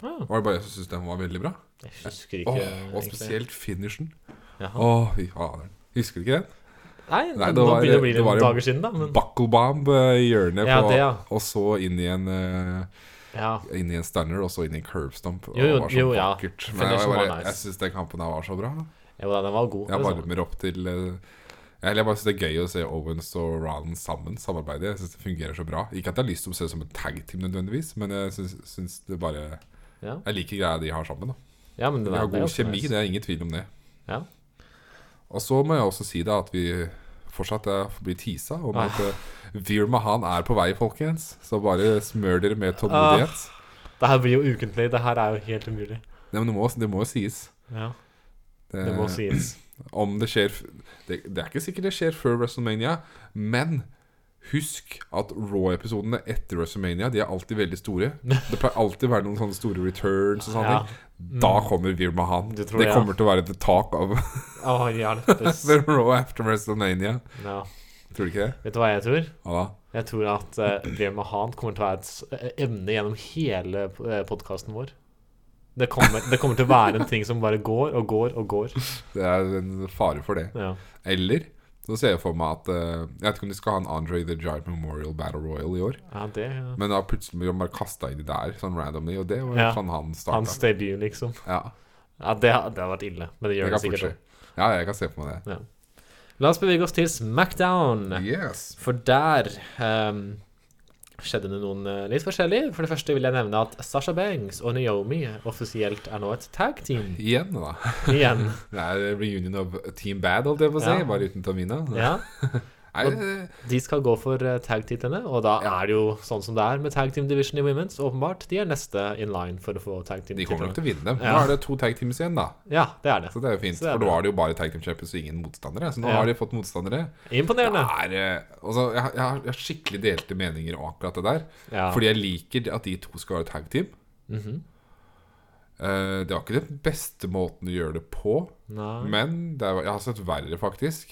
Speaker 1: Ah,
Speaker 2: Var det bare jeg som syntes den var veldig bra?
Speaker 1: jeg husker ikke.
Speaker 2: Åh, og
Speaker 1: egentlig.
Speaker 2: spesielt finishen.
Speaker 1: Jaha.
Speaker 2: Åh, fy fader. Husker du ikke den?
Speaker 1: Nei,
Speaker 2: Nei, det
Speaker 1: nå
Speaker 2: var-
Speaker 1: begynner det å bli
Speaker 2: det var
Speaker 1: noen
Speaker 2: jo
Speaker 1: dager siden, da. Men
Speaker 2: Bucklebomb eh, i hjørnet,
Speaker 1: Ja,
Speaker 2: på,
Speaker 1: det, ja.
Speaker 2: og så inn i en eh,
Speaker 1: ja.
Speaker 2: Inn i en stunner, og så inn i en curbstump. og
Speaker 1: Jo, jo,
Speaker 2: det var så
Speaker 1: jo, ja.
Speaker 2: vakkert. Men
Speaker 1: Finishen
Speaker 2: jeg,
Speaker 1: var
Speaker 2: bare-
Speaker 1: nice.
Speaker 2: jeg syns den kampen her var så bra.
Speaker 1: Jo da, den var god. liksom.
Speaker 2: Jeg
Speaker 1: det sa han.
Speaker 2: varmer opp til eh, Eller jeg bare synes det er gøy å se Owens og Rollins sammen samarbeide. Jeg synes det fungerer så bra. Ikke at jeg har lyst til å se det som en tag team nødvendigvis, men jeg synes, synes det bare
Speaker 1: Ja.
Speaker 2: Jeg liker greia de har sammen. da
Speaker 1: Ja, men det
Speaker 2: De
Speaker 1: der-
Speaker 2: har
Speaker 1: det er
Speaker 2: god
Speaker 1: også
Speaker 2: kjemi,
Speaker 1: nice.
Speaker 2: det er ingen tvil om det.
Speaker 1: Ja.
Speaker 2: Og så må jeg også si da at vi fortsatt eh, blir teasa om
Speaker 1: Ah.
Speaker 2: at eh, Veer Mahan er på vei, folkens. Så bare smør dere med tålmodighet.
Speaker 1: Ah. Det her blir jo ukentlig. Det her er jo helt umulig.
Speaker 2: Nei, men det må, det må jo sies.
Speaker 1: Ja, det
Speaker 2: Eh.
Speaker 1: må sies.
Speaker 2: Om det skjer f- det, det er ikke sikkert det skjer før WrestleMania, men husk at Raw-episodene etter WrestleMania De er alltid veldig store. Det pleier alltid å være noen sånne store returns og sånne
Speaker 1: Ja.
Speaker 2: ting. Da kommer Veer Mahan.
Speaker 1: Du
Speaker 2: Det
Speaker 1: tror det, ja.
Speaker 2: kommer til å være the talk of
Speaker 1: Å, hjelpes.
Speaker 2: the Raw after WrestleMania.
Speaker 1: Ja.
Speaker 2: Tror du ikke det?
Speaker 1: Vet du hva jeg tror?
Speaker 2: Ja da.
Speaker 1: Jeg tror at uh, Brev med Han kommer til å være et s- eh, emne gjennom hele podkasten vår. Det kommer, det kommer til å være en ting som bare går og går og går.
Speaker 2: Det er en fare for det.
Speaker 1: Ja.
Speaker 2: Eller så ser jeg for meg at eh, Jeg vet ikke om de skal ha en Andre the Giant Memorial Battle Royal i år.
Speaker 1: Ja, det
Speaker 2: Men da plutselig blir han bare kasta inn i der, sånn randomly, og det var
Speaker 1: Ja.
Speaker 2: sånn han starta.
Speaker 1: Hans debut, liksom.
Speaker 2: Ja,
Speaker 1: Ja, det, har- det har vært ille, men det
Speaker 2: det
Speaker 1: gjør det
Speaker 2: kan
Speaker 1: sikkert.
Speaker 2: fortsette. Ja, jeg kan se for meg det.
Speaker 1: også. La oss bevege oss til Smackdown,
Speaker 2: Yes.
Speaker 1: for der ehm, skjedde det noen eh, litt forskjellig. For det første vil jeg nevne at Sasha Banks og Naomi offisielt er nå et tag team
Speaker 2: Igjen, da.
Speaker 1: igjen.
Speaker 2: Det er reunion of Team Bad, holdt jeg på å si,
Speaker 1: Ja.
Speaker 2: bare uten Tamina.
Speaker 1: Ja.
Speaker 2: Nei, eh,
Speaker 1: De skal gå for eh, tag-titlene, og da
Speaker 2: Ja.
Speaker 1: er det jo sånn som det er med tag team division i Women's. Åpenbart. De er neste in line for å få tag
Speaker 2: de
Speaker 1: team-titlene.
Speaker 2: kommer nok til å vinne dem. Nå
Speaker 1: Ja.
Speaker 2: er det to tag teams igjen, da.
Speaker 1: Ja, det er det.
Speaker 2: Så det er jo fint.
Speaker 1: Så det er
Speaker 2: For
Speaker 1: bra.
Speaker 2: nå var det jo bare tag team champions og ingen motstandere. Så nå
Speaker 1: Ja.
Speaker 2: har de fått motstandere. Det
Speaker 1: Imponerende.
Speaker 2: er, eh, altså, jeg, har- jeg, har, jeg har skikkelig delte meninger om akkurat det der.
Speaker 1: Ja. Mhm.
Speaker 2: Fordi jeg liker at de to skal være tag team. Eh, det var ikke den beste måten å gjøre det på,
Speaker 1: Nei.
Speaker 2: men det er, jeg har sett verre, faktisk.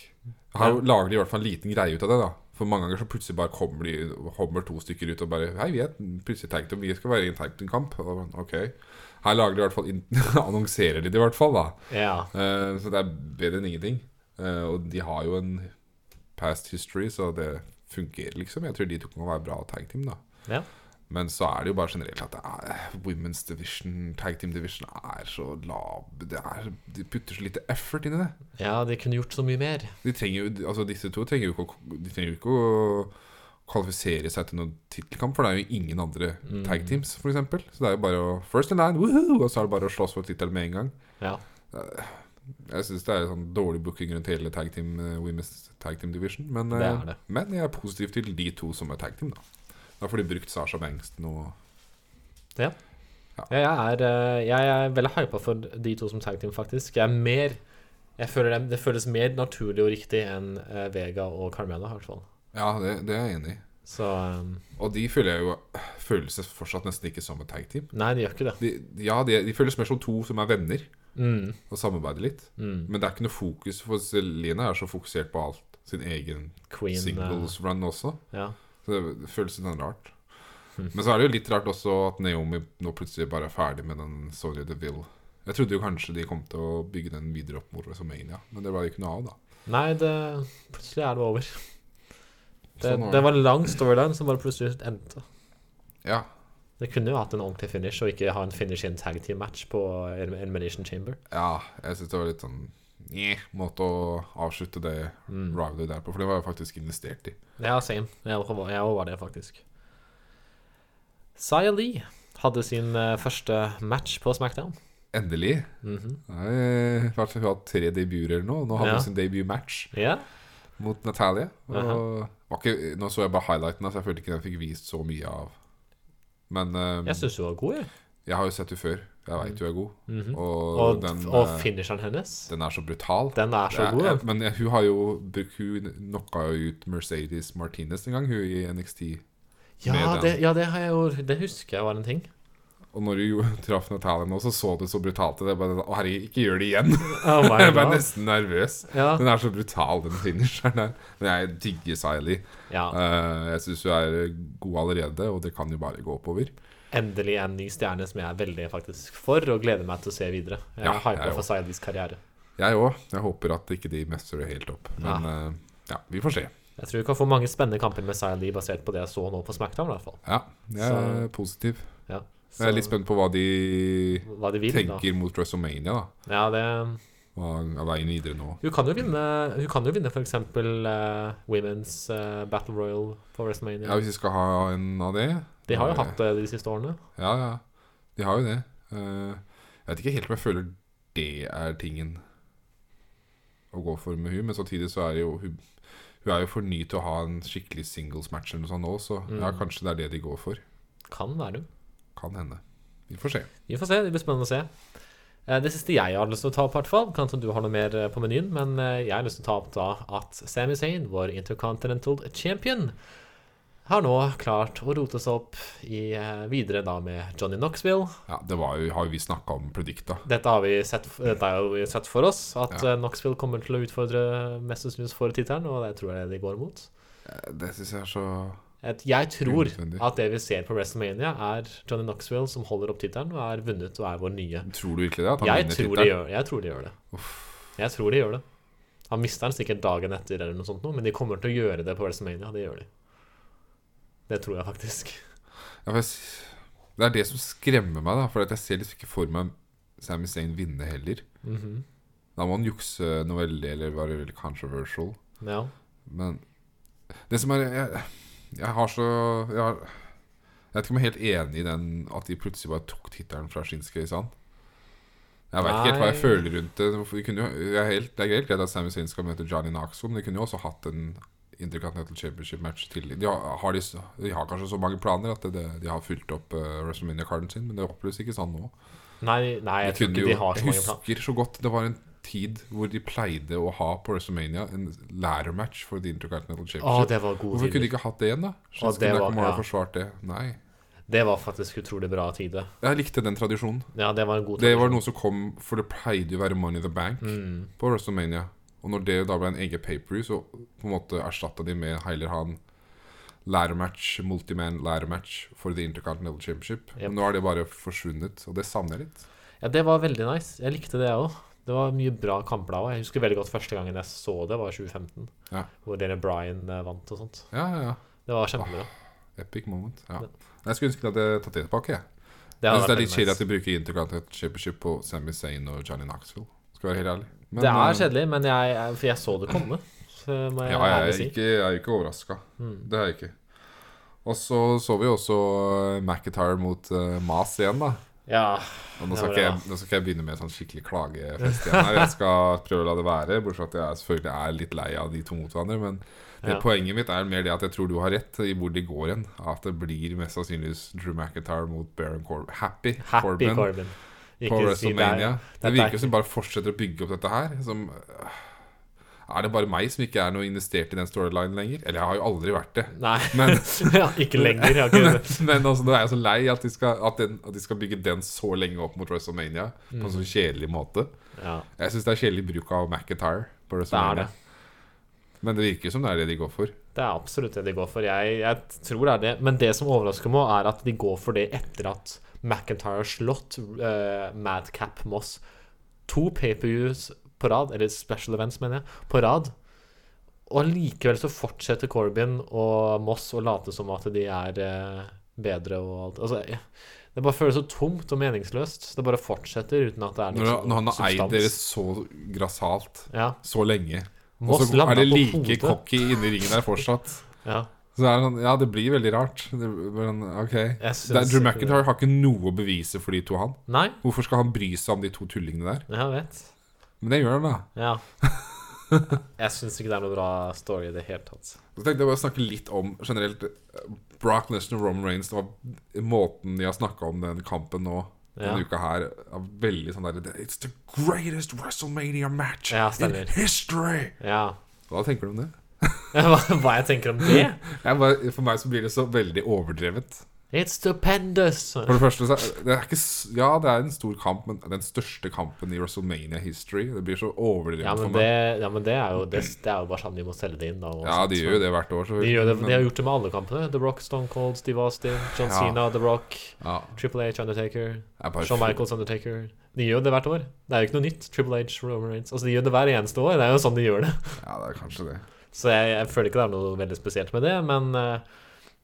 Speaker 2: Jeg har, jo- Lager de i hvert fall en liten greie ut av det, da. For mange ganger så plutselig bare kommer, de, kommer to stykker ut og bare Hei, vi er plutselig tag team, vi skal være i en tag team-kamp. Og da bare, Ok. Her lager de i hvert fall inn- Annonserer de det i hvert fall, da.
Speaker 1: Ja.
Speaker 2: Eh, Så det er bedre enn ingenting. Eh, Og de har jo en past history, så det fungerer liksom. Jeg tror de to kan være bra tag team, da.
Speaker 1: ja.
Speaker 2: Men så er det jo bare generelt at det er, women's division, tag team division, er så lav det er, De putter så lite effort inn i det.
Speaker 1: Ja, de kunne gjort så mye mer.
Speaker 2: De trenger jo, altså Disse to trenger jo ikke å, de trenger jo ikke å kvalifisere seg til noen tittelkamp, for det er jo ingen andre
Speaker 1: Mm.
Speaker 2: tag teams, for eksempel Så det er jo bare å first in line, woohoo, og så er det bare å slåss for tittelen med en gang.
Speaker 1: Ja.
Speaker 2: Jeg syns det er sånn dårlig booking rundt hele tag team, eh, Women's Tag Team Division. Men,
Speaker 1: Det er
Speaker 2: eh,
Speaker 1: det.
Speaker 2: men jeg er positiv til de to som er tag team, da. Da får de brukt Sasha Banks noe
Speaker 1: ja.
Speaker 2: Ja.
Speaker 1: ja jeg, er, eh, jeg er veldig hypa for de to som tag team, faktisk. Jeg er mer jeg føler det, det føles mer naturlig og riktig enn eh, Vega og Carmela, i hvert fall.
Speaker 2: Ja, det, det er jeg enig i.
Speaker 1: Så ehm,
Speaker 2: Og de føler jeg jo føles det fortsatt nesten ikke som et tag team.
Speaker 1: Nei, de gjør ikke det.
Speaker 2: De, ja, de, de føles mer som to som er venner
Speaker 1: Mm.
Speaker 2: og samarbeider litt.
Speaker 1: Mm.
Speaker 2: Men det er ikke noe fokus, for Selina er så fokusert på alt. Sin egen
Speaker 1: Queen eh,
Speaker 2: singles run også.
Speaker 1: Ja.
Speaker 2: Så det, det føles litt sånn rart. Men så er det jo litt rart også at Naomi nå plutselig bare er ferdig med den Sonya DeVille. Jeg trodde jo kanskje de kom til å bygge den videre opp mot WrestleMania, men det var det ikke noe av, da.
Speaker 1: Nei, det Plutselig er det over. Det,
Speaker 2: Sånn var
Speaker 1: det var en lang storyline som bare plutselig endte.
Speaker 2: Ja,
Speaker 1: Det kunne jo hatt en ordentlig finish, og ikke ha en finish i en tag team-match på El- Elimination Chamber.
Speaker 2: ja jeg syns det var litt sånn Nye måte å avslutte det
Speaker 1: Mm.
Speaker 2: rivalet der på, for det var jeg faktisk investert i.
Speaker 1: Ja, same. Jeg òg var, jeg også var det, faktisk. Saya Lee hadde sin eh, første match på SmackDown.
Speaker 2: Endelig.
Speaker 1: Mhm.
Speaker 2: Nei, I hvert fall hun har hatt tre debuter eller noe. Nå hadde
Speaker 1: Ja.
Speaker 2: hun sin debut-match
Speaker 1: Ja.
Speaker 2: mot Natalia. Og var ikke, nå så jeg bare highlightene, så jeg følte ikke den fikk vist så mye av. Men eh,
Speaker 1: Jeg syns hun var god, jeg.
Speaker 2: jeg har jo sett henne før. Jeg veit hun er god. Og,
Speaker 1: Mm. Mhm. Og,
Speaker 2: den,
Speaker 1: og
Speaker 2: eh,
Speaker 1: finisheren hennes,
Speaker 2: den er så brutal.
Speaker 1: den er så
Speaker 2: Det er-
Speaker 1: god. altså.
Speaker 2: eh, men hun har jo brukt- Hun knocka jo ut Mercedes Martinez en gang, hun i NXT.
Speaker 1: Ja,
Speaker 2: med den.
Speaker 1: det, ja, det har jeg jo Det husker jeg var en ting.
Speaker 2: Og når hun jo traff Natalia nå, så så det så brutalt ut. Jeg bare sånn, Å, herregud, ikke gjør det igjen!
Speaker 1: Oh my
Speaker 2: Jeg ble
Speaker 1: god.
Speaker 2: nesten nervøs.
Speaker 1: Ja.
Speaker 2: Den er så brutal, den finisheren der. Men jeg digger Siley.
Speaker 1: ja.
Speaker 2: Eh, jeg syns hun er god allerede, og det kan jo bare gå oppover.
Speaker 1: Endelig en ny stjerne som jeg er veldig faktisk for, og gleder meg til å se videre. Jeg er
Speaker 2: Ja, jeg
Speaker 1: hypa
Speaker 2: er
Speaker 1: for Saidis karriere.
Speaker 2: Jeg òg. Jeg håper at ikke de mestrer det helt opp. Men eh, ja, vi får se.
Speaker 1: Jeg tror vi kan få mange spennende kamper med Saidi basert på det jeg så nå på SmackDown. I hvert fall.
Speaker 2: Ja, jeg er positiv.
Speaker 1: Ja.
Speaker 2: Jeg er litt spent på hva de
Speaker 1: hva de vil,
Speaker 2: tenker mot WrestleMania, da.
Speaker 1: da. Ja, det,
Speaker 2: Hva er veien videre nå?
Speaker 1: hun kan jo vinne Hun kan jo vinne f.eks. Uh, Women's eh, Battle Royal på WrestleMania.
Speaker 2: Ja, hvis vi skal ha en av det Eh,
Speaker 1: de har jo
Speaker 2: da er
Speaker 1: hatt det de siste årene.
Speaker 2: det- Ja, ja. De har jo det. Eh, jeg vet ikke helt om jeg føler det er tingen. å gå for med hun Men samtidig så er det jo hun, hun er jo for ny til å ha en skikkelig singles match eller noe sånt nå, så ja, kanskje det er det de går for.
Speaker 1: Kan være.
Speaker 2: Kan hende. Vi får se.
Speaker 1: Vi får se. Det blir spennende å se. Eh, Det siste jeg har lyst til å ta opp, i hvert fall, kan hende du har noe mer eh, på menyen, men eh, jeg har lyst til å ta opp da at Sami Zayn, vår Intercontinental Champion, har nå klart å rote seg opp i, eh, videre da med Johnny Knoxville.
Speaker 2: Ja, Det var jo, har jo vi snakka om predikta.
Speaker 1: Dette har vi sett, dette har jo vi sett for oss, at eh, Knoxville kommer til å utfordre Mest sannsynlig for tittelen, og det tror jeg de går mot.
Speaker 2: Eh, Det syns jeg er så
Speaker 1: Et, jeg tror
Speaker 2: Unødvendig.
Speaker 1: at det vi ser på WrestleMania, er Johnny Knoxville som holder opp tittelen og er vunnet og er vår nye.
Speaker 2: Tror du virkelig det? At han
Speaker 1: Jeg
Speaker 2: vinner
Speaker 1: tror, de
Speaker 2: tittelen?
Speaker 1: gjør, jeg tror de gjør det. Jeg tror de gjør det. Han mister den sikkert dagen etter, eller noe sånt nå, men de kommer til å gjøre det på WrestleMania. Det gjør de. Det tror jeg faktisk.
Speaker 2: Ja, for jeg, s- det er det som skremmer meg, da. For at jeg ser liksom ikke for meg Sami Zayn vinne heller.
Speaker 1: Mhm.
Speaker 2: Da må han jukse noe veldig, eller være veldig controversial.
Speaker 1: Ja.
Speaker 2: Men det som er Jeg, jeg har så jeg, har, jeg vet ikke om jeg er helt enig i den at de plutselig bare tok tittelen fra Shinsuke. Sant? Jeg veit ikke helt hva jeg
Speaker 1: Nei.
Speaker 2: føler rundt det. Vi kunne jo, jeg er helt, det er helt greit at Sami Zayn skal møte Johnny Knoxville, men de kunne jo også hatt en Intercontinental Championship-match til. De har, har de, så- de har kanskje så mange planer at det, det, de har fulgt opp eh, WrestleMania-karden sin, men det oppleves ikke sånn nå.
Speaker 1: Nei, nei jeg
Speaker 2: Jeg,
Speaker 1: tror
Speaker 2: kunne
Speaker 1: ikke
Speaker 2: jo,
Speaker 1: de har
Speaker 2: jeg
Speaker 1: så mange planer.
Speaker 2: husker så godt det var en tid hvor de pleide å ha på WrestleMania en ladder-match for The Intercontinental
Speaker 1: Å,
Speaker 2: Championship.
Speaker 1: det var gode
Speaker 2: Hvorfor kunne de
Speaker 1: tider.
Speaker 2: ikke hatt det igjen, da?
Speaker 1: Å,
Speaker 2: Shinsuke
Speaker 1: det var-
Speaker 2: Nakamura
Speaker 1: ja.
Speaker 2: forsvart det. Nei.
Speaker 1: Det var faktisk utrolig bra tider.
Speaker 2: Jeg likte den tradisjonen.
Speaker 1: Ja, det var en god
Speaker 2: Det
Speaker 1: tradisjon.
Speaker 2: var noe som kom, for det pleide jo å være Money in the Bank
Speaker 1: Mm.
Speaker 2: på WrestleMania. Og når det da ble en egen paperview, så på en måte erstatta de med heller han ladder-match, multiman ladder-match for The Intercontinental Championship.
Speaker 1: Yep.
Speaker 2: Men Nå har det bare forsvunnet, og det savner jeg litt.
Speaker 1: Ja, det var veldig nice. Jeg likte det, jeg òg. Det var mye bra kamper da òg. Jeg husker veldig godt første gangen jeg så det, var 2015.
Speaker 2: Ja.
Speaker 1: Hvor dere Bryan eh, vant og sånt.
Speaker 2: Ja, ja, ja.
Speaker 1: Det var kjempebra.
Speaker 2: Epic moment. Ja. Jeg skulle ønske de hadde tatt det tilbake. jeg.
Speaker 1: Det,
Speaker 2: Jeg
Speaker 1: hadde
Speaker 2: synes det er
Speaker 1: vært veldig
Speaker 2: litt kjedelig
Speaker 1: nice.
Speaker 2: at de bruker Intercontinental Championship på Sami Zayn og Johnny Knoxville. Skal være helt ærlig. Men,
Speaker 1: det
Speaker 2: eh,
Speaker 1: er kjedelig, men jeg, jeg, for jeg så det komme. Så må jeg
Speaker 2: Ja, jeg
Speaker 1: ærlig
Speaker 2: er
Speaker 1: si. Hmm.
Speaker 2: ikke, jeg er ikke overraska. Det er jeg ikke. Og så så vi jo også eh, McIntyre mot eh, Mas igjen, da.
Speaker 1: Ja,
Speaker 2: Og nå
Speaker 1: Det
Speaker 2: skal,
Speaker 1: var
Speaker 2: ikke
Speaker 1: det,
Speaker 2: jeg, nå skal ikke jeg begynne med sånn skikkelig klagefest igjen her. Jeg skal prøve å la det være, bortsett fra at jeg selvfølgelig er litt lei av de to mot hverandre. Men det
Speaker 1: Ja.
Speaker 2: poenget mitt er mer det at jeg tror du har rett i hvor de går hen. At det blir mest sannsynligvis Drew McIntyre mot Baron Corbin. Happy,
Speaker 1: happy
Speaker 2: Corbin.
Speaker 1: Corbin. Ikke si det
Speaker 2: på
Speaker 1: er-
Speaker 2: WrestleMania.
Speaker 1: dette
Speaker 2: Det
Speaker 1: er
Speaker 2: virker
Speaker 1: ikke-
Speaker 2: jo som de bare fortsetter å bygge opp dette her. Som, øh, er det bare meg som ikke er noe investert i den storylinen lenger? Eller jeg har jo aldri vært det.
Speaker 1: Nei,
Speaker 2: Men,
Speaker 1: ja, ikke lenger. Jeg har ikke,
Speaker 2: men altså, nå er jeg så lei at de, skal, at, den, at de skal bygge den så lenge opp mot WrestleMania på en
Speaker 1: Mm.
Speaker 2: sånn kjedelig måte.
Speaker 1: ja,
Speaker 2: Jeg syns det er kjedelig bruk av
Speaker 1: det
Speaker 2: McIntyre på
Speaker 1: er det.
Speaker 2: WrestleMania. Men det virker som det er det de går for.
Speaker 1: Det er absolutt det de går for. Jeg, jeg tror det er det. Men det som overrasker meg, er at de går for det etter at McIntyre har slått eh, Madcap Moss to PPUs på rad, eller special events, mener jeg, på rad. Og likevel så fortsetter Corbin og Moss å late som at de er eh, bedre og alt. Altså, jeg- det bare føles så tomt og meningsløst. Det bare fortsetter uten at det er
Speaker 2: Når,
Speaker 1: noe
Speaker 2: når han har eid dere så grassat
Speaker 1: Ja.
Speaker 2: så lenge, og
Speaker 1: Moss
Speaker 2: så er
Speaker 1: landa
Speaker 2: det
Speaker 1: på
Speaker 2: like
Speaker 1: hodet.
Speaker 2: cocky inni ringen der fortsatt.
Speaker 1: Ja.
Speaker 2: Så er det sånn, Ja, det blir veldig rart. Det, men ok det,
Speaker 1: syns
Speaker 2: er- Drew
Speaker 1: ikke det.
Speaker 2: McIntyre har ikke noe å bevise for de to, han.
Speaker 1: Nei,
Speaker 2: Hvorfor skal han bry seg om de to tullingene der?
Speaker 1: jeg vet.
Speaker 2: Men det gjør han, da.
Speaker 1: Ja. Jeg syns ikke det er noe bra story i det hele tatt.
Speaker 2: Så tenkte jeg bare å snakke litt om generelt eh, Brock Lesnar og Roman Reigns. Det var måten de har snakka om den kampen nå
Speaker 1: Ja.
Speaker 2: denne uka her. Er veldig sånn der It's the greatest WrestleMania match
Speaker 1: Ja,
Speaker 2: in
Speaker 1: stemmer.
Speaker 2: history!
Speaker 1: Ja.
Speaker 2: Hva tenker du om det?
Speaker 1: Hva, hva jeg tenker om det?
Speaker 2: Jeg bare, for meg så blir det så veldig overdrevet.
Speaker 1: It's stupendous!
Speaker 2: For det første, så er- det er ikke, s- ja, det er en stor kamp, men den største kampen i WrestleMania history. Det blir så overdrevet
Speaker 1: Ja,
Speaker 2: for
Speaker 1: men
Speaker 2: meg.
Speaker 1: det, ja, men det er jo det, det er jo bare sånn de må selge det inn, da. og
Speaker 2: ja,
Speaker 1: sånt.
Speaker 2: de gjør jo det hvert år. selvfølgelig.
Speaker 1: De, gjør sånn. det, de har
Speaker 2: men-
Speaker 1: gjort det med alle kampene. The Rock, Stone Cold, Steve Austin, John
Speaker 2: Ja.
Speaker 1: Cena, The Rock,
Speaker 2: ja,
Speaker 1: Triple H, Undertaker,
Speaker 2: det er bare
Speaker 1: Shawn Michaels, Undertaker. De gjør det hvert år. Det er jo ikke noe nytt. Triple H, Roman Reigns Altså, de gjør det hver eneste år. Det er jo sånn de gjør det.
Speaker 2: Ja, det er kanskje det.
Speaker 1: Så jeg, jeg føler ikke det er noe veldig spesielt med det, men eh,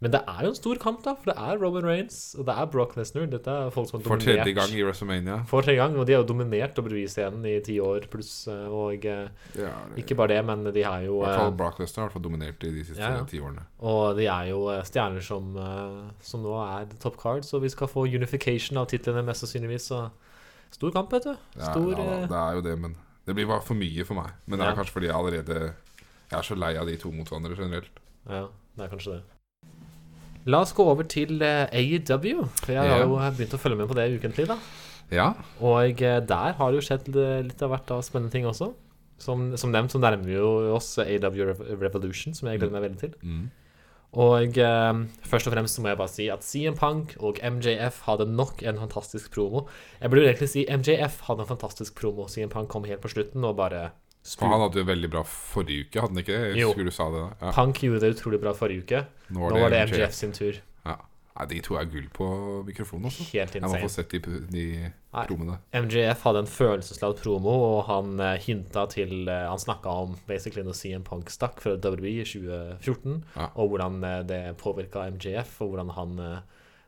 Speaker 1: men det er jo en stor kamp, da. For det er Roman Reigns og det er Brock Lesnar. Dette er folk som har
Speaker 2: For
Speaker 1: dominert.
Speaker 2: tredje gang i WrestleMania.
Speaker 1: For tredje gang, og de har jo dominert WWE-scenen i ti år pluss. eh, Og eh,
Speaker 2: Ja, det,
Speaker 1: ikke bare det, men de er jo
Speaker 2: I hvert
Speaker 1: eh,
Speaker 2: fall Brock Lesnar har i hvert fall dominert i de siste
Speaker 1: Ja, ja.
Speaker 2: ti årene.
Speaker 1: Og de er jo eh, stjerner som, eh, som nå er top card, så vi skal få unification av titlene mest sannsynligvis. Så stor kamp, vet du.
Speaker 2: Det er,
Speaker 1: Stor
Speaker 2: ja, da,
Speaker 1: eh,
Speaker 2: det er jo det, men Det blir bare for mye for meg. Men det er
Speaker 1: Ja.
Speaker 2: kanskje fordi jeg allerede Jeg er så lei av de to motstandere generelt.
Speaker 1: Ja, det er kanskje det. La oss gå over til eh, AEW, for jeg har
Speaker 2: Ja.
Speaker 1: jo begynt å følge med på det ukentlig. da
Speaker 2: Ja.
Speaker 1: Og eh, der har det jo skjedd eh, litt av hvert av spennende ting også. Som, som nevnt så nærmer vi jo oss AW Rev- Revolution, som jeg gleder meg veldig til.
Speaker 2: Mm.
Speaker 1: Og eh, først og fremst så må jeg bare si at CM Punk og MJF hadde nok en fantastisk promo. Jeg burde egentlig si MJF hadde en fantastisk promo. CM Punk kom helt på slutten og bare
Speaker 2: For han hadde jo veldig bra forrige uke, hadde han ikke det? Jeg
Speaker 1: Jo.
Speaker 2: husker du sa det da. Ja.
Speaker 1: Punk gjorde det utrolig bra forrige uke.
Speaker 2: Nå
Speaker 1: Nå var det MJF sin tur.
Speaker 2: Ja. Nei, de to er gull på mikrofonen også.
Speaker 1: Helt
Speaker 2: Jeg må få
Speaker 1: insane.
Speaker 2: sett de, de
Speaker 1: Nei.
Speaker 2: prommene.
Speaker 1: MJF hadde en følelsesladd promo, og han eh, hinta til eh, Han snakka om basically når CM Punk stakk fra WWE i 2014,
Speaker 2: Ja.
Speaker 1: og hvordan eh, det påvirka MJF, og hvordan han eh,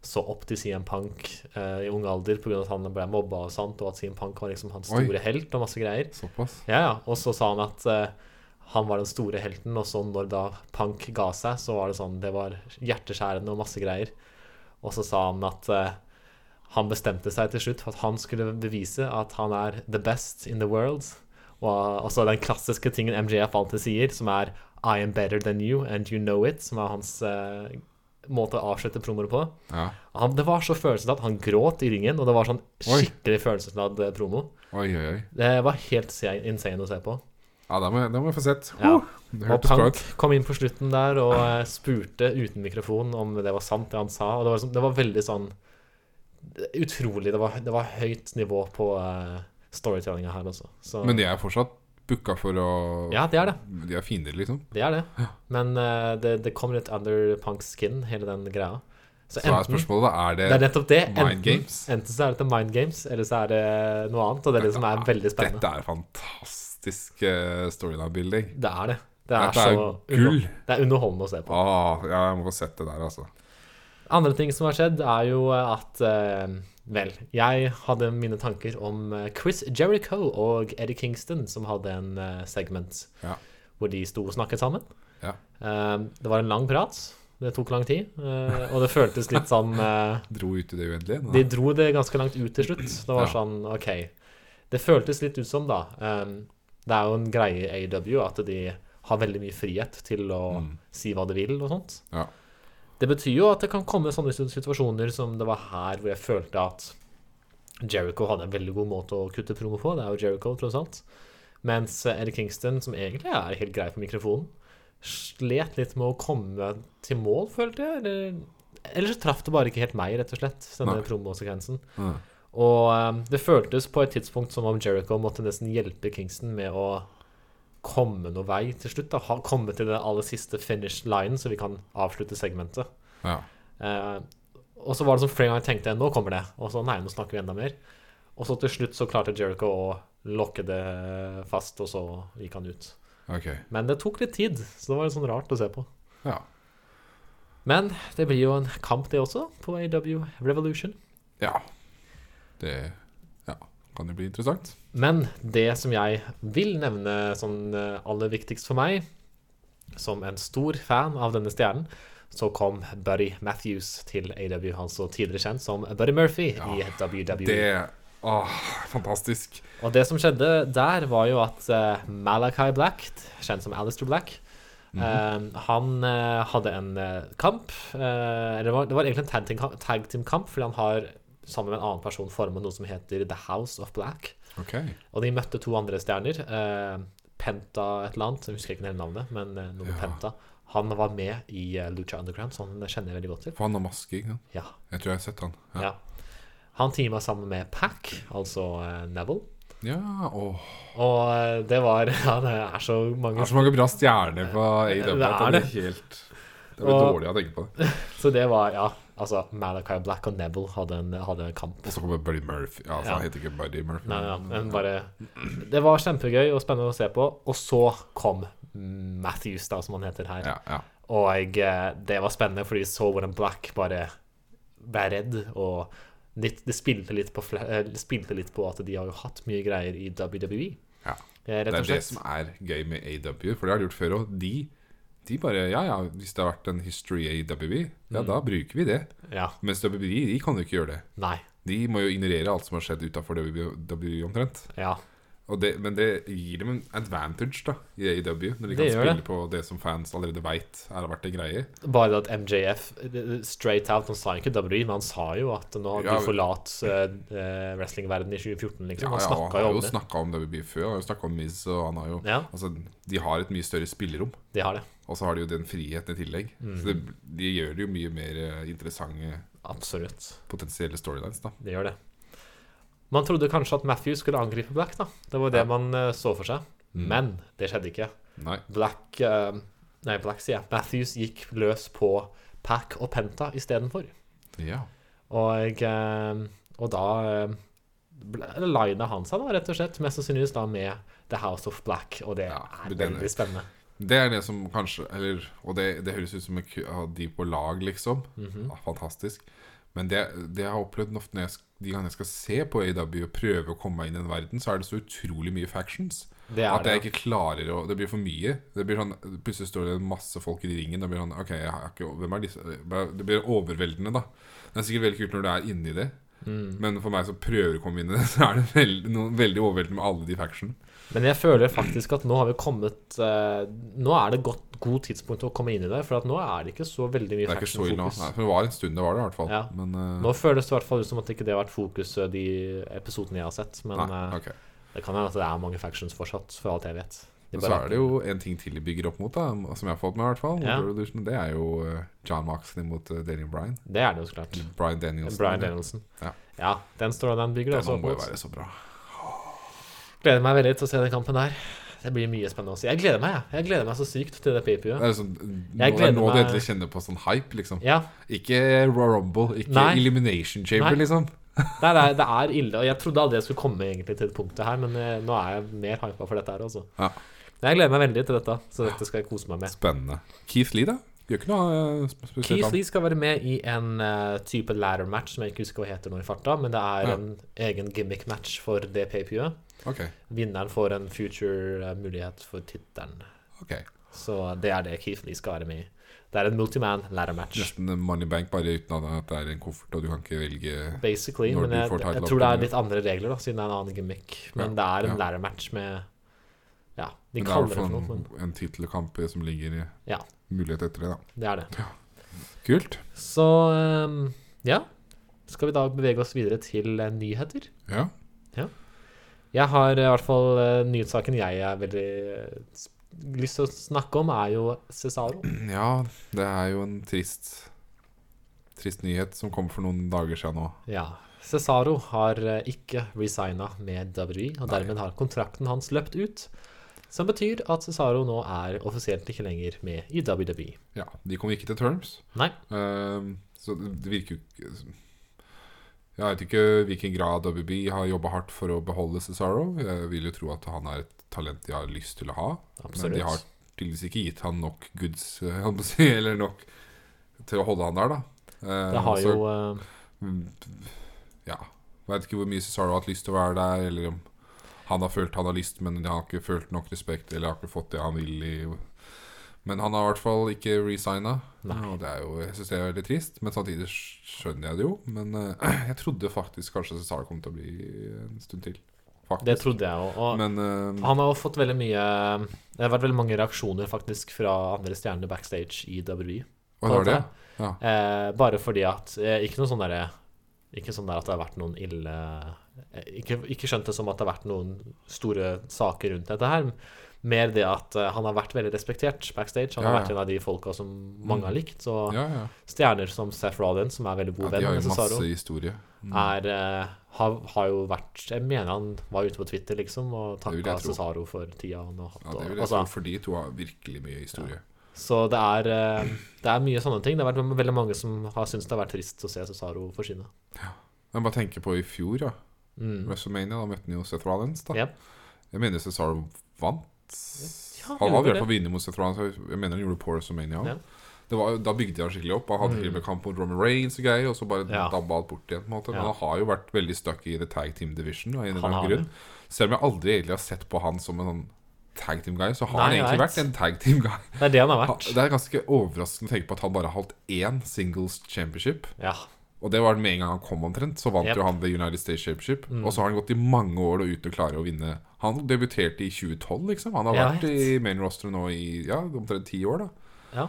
Speaker 1: så opp til CM Punk eh, i ung alder pga. at han ble mobba og sånt, og at CM Punk var liksom hans
Speaker 2: Oi.
Speaker 1: store helt og masse greier.
Speaker 2: Såpass.
Speaker 1: Ja, ja. Og så sa han at eh, han var den store helten, og så når da Punk ga seg, så var det sånn Det var hjerteskjærende og masse greier. Og så sa han at eh, han bestemte seg til slutt for at han skulle bevise at han er the best in the world. Og altså den klassiske tingen MJF alltid sier, som er I am better than you, and you know it, som er hans eh, måte å avslutte promoer på.
Speaker 2: Ja.
Speaker 1: Han, det var så følelsesladd. Han gråt i ringen, og det var sånn
Speaker 2: Oi.
Speaker 1: skikkelig følelsesladd eh, promo.
Speaker 2: Oi, oi, oi.
Speaker 1: Det var helt se- insane å se på.
Speaker 2: Ja, da må jeg, da må jeg få sett.
Speaker 1: Ja.
Speaker 2: Uh, det
Speaker 1: Og
Speaker 2: hørtes bra
Speaker 1: Punk
Speaker 2: ut.
Speaker 1: kom inn på slutten der og eh, spurte uten mikrofon om det var sant, det han sa. Og det var, sånn- det var veldig sånn Utrolig. Det var, det var høyt nivå på uh, storytellinga her, altså. Så
Speaker 2: Men de er fortsatt booka for å
Speaker 1: Ja, det er det.
Speaker 2: De er fiender, liksom.
Speaker 1: Det er det. Men eh, det, det kom litt under Punks skin, hele den greia. Så,
Speaker 2: Så er
Speaker 1: enten
Speaker 2: spørsmålet, da er det,
Speaker 1: Det er nettopp det.
Speaker 2: Mind
Speaker 1: Enten,
Speaker 2: games?
Speaker 1: enten så er det til Mind Games, eller så er det noe annet. Og det er det som er veldig spennende.
Speaker 2: Dette er fantastisk eh, storyline-building.
Speaker 1: Det er det. Det er,
Speaker 2: Dette er
Speaker 1: så
Speaker 2: gull.
Speaker 1: under- Det er underholdende å se på.
Speaker 2: Ah, ja, jeg må få sett det der, altså.
Speaker 1: Andre ting som har skjedd, er jo at eh, Vel, jeg hadde mine tanker om eh, Chris Jericho og Eddie Kingston, som hadde en eh, segment
Speaker 2: Ja.
Speaker 1: hvor de sto og snakket sammen.
Speaker 2: Ja.
Speaker 1: Eh, det var en lang prat. Det tok lang tid, eh, og det føltes litt sånn eh,
Speaker 2: Dro ut i det uendelige.
Speaker 1: De
Speaker 2: da.
Speaker 1: dro det ganske langt ut til slutt. Det var
Speaker 2: Ja.
Speaker 1: sånn, OK. Det føltes litt ut som, da ehm, Det er jo en greie i AEW at de har veldig mye frihet til å
Speaker 2: Mm.
Speaker 1: si hva de vil og sånt.
Speaker 2: Ja.
Speaker 1: Det betyr jo at det kan komme sånne situ- situasjoner som det var her, hvor jeg følte at Jericho hadde en veldig god måte å kutte promo på. Det er jo Jericho, tross alt. Mens eh, Eddie Kingston, som egentlig er helt grei på mikrofonen, slet litt med å komme til mål, følte jeg. Eller, eller så traff det bare ikke helt meg, rett og slett, denne
Speaker 2: Nei.
Speaker 1: promosekvensen.
Speaker 2: Ja.
Speaker 1: Og eh, det føltes på et tidspunkt som om Jericho måtte nesten hjelpe Kingston med å komme noe vei til slutt. da, ha, Komme til den aller siste finish line, så vi kan avslutte segmentet.
Speaker 2: Ja.
Speaker 1: Eh, og så var det som flere ganger jeg tenkte nå kommer det, og så nei, nå snakker vi enda mer. Og så til slutt så klarte Jericho å lokke det fast, og så gikk han ut.
Speaker 2: Ok.
Speaker 1: Men det tok litt tid, så det var litt sånn rart å se på.
Speaker 2: Ja.
Speaker 1: Men det blir jo en kamp, det også, på AW Revolution.
Speaker 2: ja. Det ja. kan jo bli interessant.
Speaker 1: Men det som jeg vil nevne sånn eh, aller viktigst for meg, som en stor fan av denne stjernen, så kom Buddy Matthews til AW, han så tidligere kjent som Buddy Murphy i WWE.
Speaker 2: Det Åh, fantastisk.
Speaker 1: Og det som skjedde der, var jo at eh, Malachi Black, kjent som Alistair Black, eh, han eh, hadde en eh, kamp eh, eller det, var, det var egentlig en tag team- tag team-kamp, fordi han har sammen med en annen person formet noe som heter The House of Black.
Speaker 2: Ok.
Speaker 1: Og de møtte to andre stjerner. eh, Penta et eller annet, jeg husker ikke hele navnet, men eh, noe med
Speaker 2: Ja.
Speaker 1: Penta. Han var med i eh, Lucha Underground, så han kjenner jeg veldig godt til.
Speaker 2: For han har maske, ikke sant?
Speaker 1: Ja,
Speaker 2: Jeg tror jeg har sett han.
Speaker 1: ja. Han teama sammen med Pack, altså eh, Neville.
Speaker 2: Ja, åh.
Speaker 1: Og eh, det var Ja, det er så
Speaker 2: Det
Speaker 1: mange
Speaker 2: er så mange bra stjerner på AW.
Speaker 1: Det er
Speaker 2: at Det blir helt Det blir
Speaker 1: Og-
Speaker 2: dårlig av å tenke på det.
Speaker 1: Så det var, ja. Altså, Malachi Black og Neville hadde en, hadde en kamp.
Speaker 2: Og så kommer Buddy Murphy. Ja, altså,
Speaker 1: Ja.
Speaker 2: Han heter ikke Buddy Murphy.
Speaker 1: Nei, ja, men bare Det var kjempegøy og spennende å se på. Og så kom Matthews, da, som han heter her.
Speaker 2: Ja, ja.
Speaker 1: Og eh, det var spennende, for de så hvordan Black bare ble redd. Og litt, det spilte litt, på, fla- eh, det spilte litt på at de har jo hatt mye greier i WWE.
Speaker 2: Ja.
Speaker 1: eh,
Speaker 2: Det
Speaker 1: Rett og
Speaker 2: er det
Speaker 1: slett.
Speaker 2: som er gøy med AW, for det har de gjort før òg. De, de bare Ja, ja, hvis det har vært en history i AW,
Speaker 1: Mm.
Speaker 2: ja, da bruker vi det.
Speaker 1: Ja.
Speaker 2: Mens E, WWE de kan jo ikke gjøre det.
Speaker 1: Nei.
Speaker 2: E, De må jo ignorere alt som har skjedd utafor WWE omtrent.
Speaker 1: Ja.
Speaker 2: Og det, men det gir dem en advantage da i AEW, når de
Speaker 1: Det
Speaker 2: kan
Speaker 1: gjør
Speaker 2: spille
Speaker 1: det.
Speaker 2: på det som fans allerede veit har vært en greie.
Speaker 1: Bare det at MJF eh, straight out Han sa ikke WWE, men han sa jo at nå har
Speaker 2: Ja, men-
Speaker 1: du forlatt uh, wrestlingverden i 2014, liksom. Han
Speaker 2: og
Speaker 1: snakka
Speaker 2: han
Speaker 1: jo
Speaker 2: har
Speaker 1: om
Speaker 2: jo
Speaker 1: det.
Speaker 2: snakka om WWE før. Han har jo snakka om Miz, og han har jo
Speaker 1: Ja,
Speaker 2: Altså, de har et mye større spillerom.
Speaker 1: de har det.
Speaker 2: Og så har de jo den friheten i tillegg.
Speaker 1: Mm.
Speaker 2: Så det, de gjør det jo mye mer eh, interessante
Speaker 1: Absolutt.
Speaker 2: potensielle storylines, da.
Speaker 1: Det gjør det. Man trodde kanskje at Matthew skulle angripe Black, da. Det var jo det
Speaker 2: Ja. Mm.
Speaker 1: man eh, så for seg. Men det skjedde ikke.
Speaker 2: Nei.
Speaker 1: Black eh, Nei, Black sier jeg. Matthews gikk løs på Pack og Penta istedenfor.
Speaker 2: Ja.
Speaker 1: Og, eh, og da eh, ble- lina han seg da, rett og slett, mest sannsynligvis da med The House of Black, og det
Speaker 2: Ja,
Speaker 1: er
Speaker 2: det er det.
Speaker 1: veldig spennende.
Speaker 2: Det er det som kanskje Eller, og det, det høres ut som en ku- av de på lag, liksom.
Speaker 1: Mhm.
Speaker 2: ja, fantastisk. Men det, det jeg har opplevd ofte når jeg, sk- de gangene jeg skal se på AW og prøve å komme meg inn i den verden, så er det så utrolig mye factions.
Speaker 1: Det er
Speaker 2: at jeg
Speaker 1: det.
Speaker 2: ikke klarer å Det blir for mye. Det blir sånn, Plutselig står det masse folk i ringen. Og blir sånn, ok, jeg har ikke, hvem er disse? Det blir overveldende, da. Det er sikkert veldig kult når du er inni det.
Speaker 1: Mm.
Speaker 2: Men for meg som prøver å komme inn i det, så er det veldig, noe, veldig overveldende med alle de faction.
Speaker 1: Men jeg føler faktisk at nå har vi kommet eh, Nå er det godt, god tidspunkt å komme inn i det, for at nå er det ikke så veldig mye
Speaker 2: Det er ikke så ille nå.
Speaker 1: faction-fokus.
Speaker 2: Nei, For det var en stund det var det, i hvert fall.
Speaker 1: Ja.
Speaker 2: Men eh,
Speaker 1: Nå føles det i hvert fall ut som at ikke det har vært fokuset de episodene jeg har sett, men
Speaker 2: Nei,
Speaker 1: eh,
Speaker 2: ok.
Speaker 1: det kan hende at det er mange factions fortsatt, for alt jeg vet. De
Speaker 2: Men
Speaker 1: bare-
Speaker 2: så er det jo en ting til de bygger opp mot, da som jeg har fått med. i hvert fall
Speaker 1: Ja.
Speaker 2: World Revolution, Det er jo eh, John Moxley mot eh, Daniel Bryan.
Speaker 1: Det er det jo så klart.
Speaker 2: Bryan Danielson.
Speaker 1: Brian Danielson.
Speaker 2: Mm. Ja.
Speaker 1: Ja, den står den bygger
Speaker 2: Den
Speaker 1: også opp
Speaker 2: må jo
Speaker 1: mot.
Speaker 2: være så bra.
Speaker 1: Gleder meg veldig til å se den kampen der. Det blir mye spennende å se. Jeg gleder meg, jeg. Jeg gleder meg så sykt til det
Speaker 2: Det
Speaker 1: paperviewet.
Speaker 2: er sånn, nå,
Speaker 1: Jeg
Speaker 2: det er nå
Speaker 1: gleder
Speaker 2: du
Speaker 1: meg-
Speaker 2: endelig kjenner på sånn hype, liksom.
Speaker 1: Ja,
Speaker 2: Ikke Raw Rumble, ikke
Speaker 1: Nei.
Speaker 2: Elimination Chamber,
Speaker 1: Nei.
Speaker 2: liksom.
Speaker 1: det er, det er ille. Og jeg trodde aldri jeg skulle komme egentlig til det punktet her, men eh, nå er jeg mer hypa for dette her, altså.
Speaker 2: Ja.
Speaker 1: Jeg gleder meg veldig til dette, så dette skal jeg kose meg med.
Speaker 2: Spennende. Keith Lee, da? Gjør ikke noe eh, sp- spesielt.
Speaker 1: Keith
Speaker 2: annet.
Speaker 1: Lee skal være med i en eh, type ladder match som jeg ikke husker hva heter nå i farta, men det er
Speaker 2: Ja.
Speaker 1: en egen gimmick match for det paperviewet.
Speaker 2: Ok,
Speaker 1: Vinneren får en future eh, mulighet for tittelen.
Speaker 2: ok
Speaker 1: Så det er det Keith Lee skal være med i. Det er en multiman ladder match.
Speaker 2: Nesten Money Bank, bare uten at at det er en koffert, og du kan ikke velge
Speaker 1: Basically,
Speaker 2: Når
Speaker 1: men
Speaker 2: du
Speaker 1: jeg,
Speaker 2: får
Speaker 1: jeg
Speaker 2: title
Speaker 1: tror det
Speaker 2: oppgaven,
Speaker 1: er litt andre regler, da, siden det er en annen gimmick. Men
Speaker 2: Ja,
Speaker 1: det er en
Speaker 2: ja.
Speaker 1: lærermatch med Ja, de
Speaker 2: Men det er i
Speaker 1: kaller det
Speaker 2: hvert
Speaker 1: for
Speaker 2: fall
Speaker 1: noe, men
Speaker 2: en, en tittelkamp som ligger i
Speaker 1: Ja.
Speaker 2: mulighet etter det, da.
Speaker 1: det er det.
Speaker 2: Kult.
Speaker 1: Så ehm, ja. Skal vi da bevege oss videre til eh, nyheter?
Speaker 2: Ja.
Speaker 1: Jeg har eh, i hvert fall eh, nyhetssaken jeg er veldig eh, s- lyst til å snakke om, er jo Cesaro.
Speaker 2: ja, det er jo en trist Trist nyhet som kom for noen dager siden nå.
Speaker 1: Ja. Cesaro har eh, ikke resigna med WWE, og dermed har kontrakten hans løpt ut. Som betyr at Cesaro nå er offisielt ikke lenger med i E. WWE.
Speaker 2: Ja, De kom ikke til terms.
Speaker 1: Nei.
Speaker 2: Ehm, så det det virker jo ikke Jeg vet ikke hvilken grad WB har jobba hardt for å beholde Cesaro. Jeg vil jo tro at han er et talent de har lyst til å ha. Men de har
Speaker 1: Absolutt.
Speaker 2: tydeligvis ikke gitt han nok goods, eh, holdt på å si, eller nok til å holde han der, da. Ehm,
Speaker 1: Det har
Speaker 2: så-
Speaker 1: jo eh,
Speaker 2: Mm, Ja. Veit ikke hvor mye Cesaro har hatt lyst til å være der, eller om han har følt han har lyst, men han har ikke følt nok respekt, eller har ikke fått det han vil i Men han har i hvert fall ikke resigna,
Speaker 1: Nei.
Speaker 2: og det er jo, jeg syns det er veldig trist. Men samtidig skjønner jeg det jo. Men eh, jeg trodde faktisk kanskje Cesaro kom til å bli en stund til. Faktisk.
Speaker 1: Det trodde jeg jo. Og
Speaker 2: Men eh,
Speaker 1: Ah. han har jo fått veldig mye Det har vært veldig mange reaksjoner faktisk fra andre stjerner backstage i E. WWE.
Speaker 2: Hva var det?
Speaker 1: dette Eh, bare fordi at eh, Ikke noe sånn derre Ikke sånn der at det har vært noen ille eh, ikke, ikke skjønt det som at det har vært noen store saker rundt dette her. Mer det at eh, han har vært veldig respektert backstage. Han har
Speaker 2: Ja, ja.
Speaker 1: vært en av de folka som mange har likt. Så
Speaker 2: Ja, ja.
Speaker 1: stjerner som Seth Rollins, som er veldig
Speaker 2: ja
Speaker 1: Ah. god
Speaker 2: de
Speaker 1: venn
Speaker 2: har
Speaker 1: med
Speaker 2: jo
Speaker 1: Cesaro
Speaker 2: masse historie. Mm.
Speaker 1: er, eh, har, har jo vært Jeg mener han var ute på Twitter liksom og
Speaker 2: Det vil jeg
Speaker 1: takka
Speaker 2: tro.
Speaker 1: Cesaro for tida han har hatt.
Speaker 2: Ja, det
Speaker 1: og,
Speaker 2: vil jeg
Speaker 1: altså,
Speaker 2: tro, for de to har virkelig mye historie.
Speaker 1: så det er, eh, det er mye sånne ting. Det har vært veldig mange som har syntes det har vært trist å se Cesaro forsvinne.
Speaker 2: Men bare tenke på i fjor, ja.
Speaker 1: Mm.
Speaker 2: WrestleMania, da møtte han jo Seth Rollins. da
Speaker 1: Jep.
Speaker 2: Jeg mener Cesaro vant.
Speaker 1: Ja,
Speaker 2: han var i
Speaker 1: gjorde
Speaker 2: hvert fall vinner mot Seth Rollins. Jeg mener han gjorde det på WrestleMania. også.
Speaker 1: Ja. Mm.
Speaker 2: Det var, jo- da bygde han skikkelig opp. Han hadde til og med kamp mot Roman Reigns og greier, og så bare
Speaker 1: Ja.
Speaker 2: dabba alt bort igjen. på en måte Men
Speaker 1: Ja.
Speaker 2: han har jo vært veldig stuck i the tag team division. Av en eller
Speaker 1: Han
Speaker 2: annen
Speaker 1: har det.
Speaker 2: grunn Selv om jeg aldri egentlig har sett på han som en sånn tag team guy, så har han
Speaker 1: Nei, jeg
Speaker 2: egentlig
Speaker 1: vet.
Speaker 2: vært en tag team guy.
Speaker 1: Det er det han har
Speaker 2: Han,
Speaker 1: vært.
Speaker 2: det er ganske overraskende å tenke på at han bare har holdt én singles championship.
Speaker 1: Ja.
Speaker 2: Og det var med en gang han kom omtrent, så vant
Speaker 1: Yep.
Speaker 2: jo han The United States Championship. Og så har han gått i mange år og uten å klare å vinne. Han debuterte i 2012, liksom. Han har
Speaker 1: Jeg
Speaker 2: vært i main roster nå i ja, omtrent ti år, da.
Speaker 1: Ja.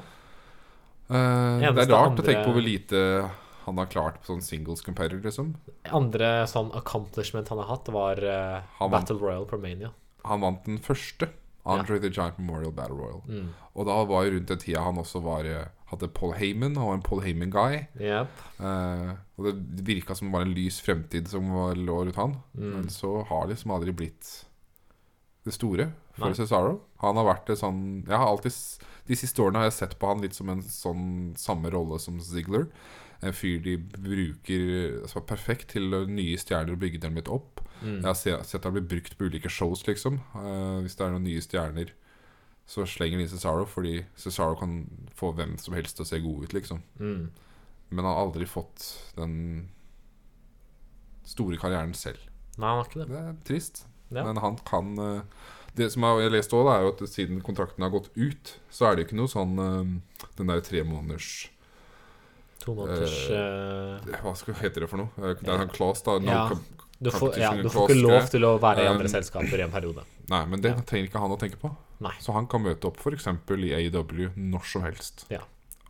Speaker 2: Eh, det
Speaker 1: Eneste
Speaker 2: er rart
Speaker 1: andre-
Speaker 2: å tenke på hvor lite han har klart på sånn singles competitor, liksom.
Speaker 1: Andre sånn accomplishment han har hatt, var eh,
Speaker 2: Han vant.
Speaker 1: Battle Royal på Mania.
Speaker 2: Han vant den første Andre the Giant Memorial Battle Royal. Og da var jo rundt den tida han også var eh, hadde Paul Heyman, han var en Paul Heyman-guy.
Speaker 1: Yep.
Speaker 2: Eh, og det virka som det var en lys fremtid som var, lå rundt han.
Speaker 1: Mm.
Speaker 2: Men så har det liksom aldri blitt det store for
Speaker 1: Nei.
Speaker 2: Cesaro. Han har vært det sånn Jeg har alltid s- De siste årene har jeg sett på han litt som en sånn samme rolle som Ziggler. En fyr de bruker som er perfekt til å- nye stjerner og bygge dem litt opp.
Speaker 1: Mm.
Speaker 2: Jeg har se- sett han bli brukt på ulike shows, liksom. Eh, hvis det er noen nye stjerner, så slenger de inn Cesaro, fordi Cesaro kan få hvem som helst til å se god ut, liksom.
Speaker 1: Mm.
Speaker 2: Men han har aldri fått den store karrieren selv.
Speaker 1: Nei, han har ikke det.
Speaker 2: Det er trist.
Speaker 1: Ja.
Speaker 2: Men han kan eh, Det som jeg har lest òg, er jo at siden kontrakten har gått ut, så er det jo ikke noe sånn eh, Den der tre måneders
Speaker 1: To måneders eh,
Speaker 2: Hva skal heter det for noe? Eh, Det er en clause, da. No
Speaker 1: Ja.
Speaker 2: com-
Speaker 1: du, får, ja,
Speaker 2: competition
Speaker 1: du
Speaker 2: clause,
Speaker 1: får ikke
Speaker 2: tror jeg.
Speaker 1: lov til å være i
Speaker 2: Um,
Speaker 1: andre selskaper i en periode.
Speaker 2: Nei, men det
Speaker 1: Ja.
Speaker 2: trenger ikke han å tenke på.
Speaker 1: Nei.
Speaker 2: Så han kan møte opp f.eks. i AEW når som helst.
Speaker 1: Ja.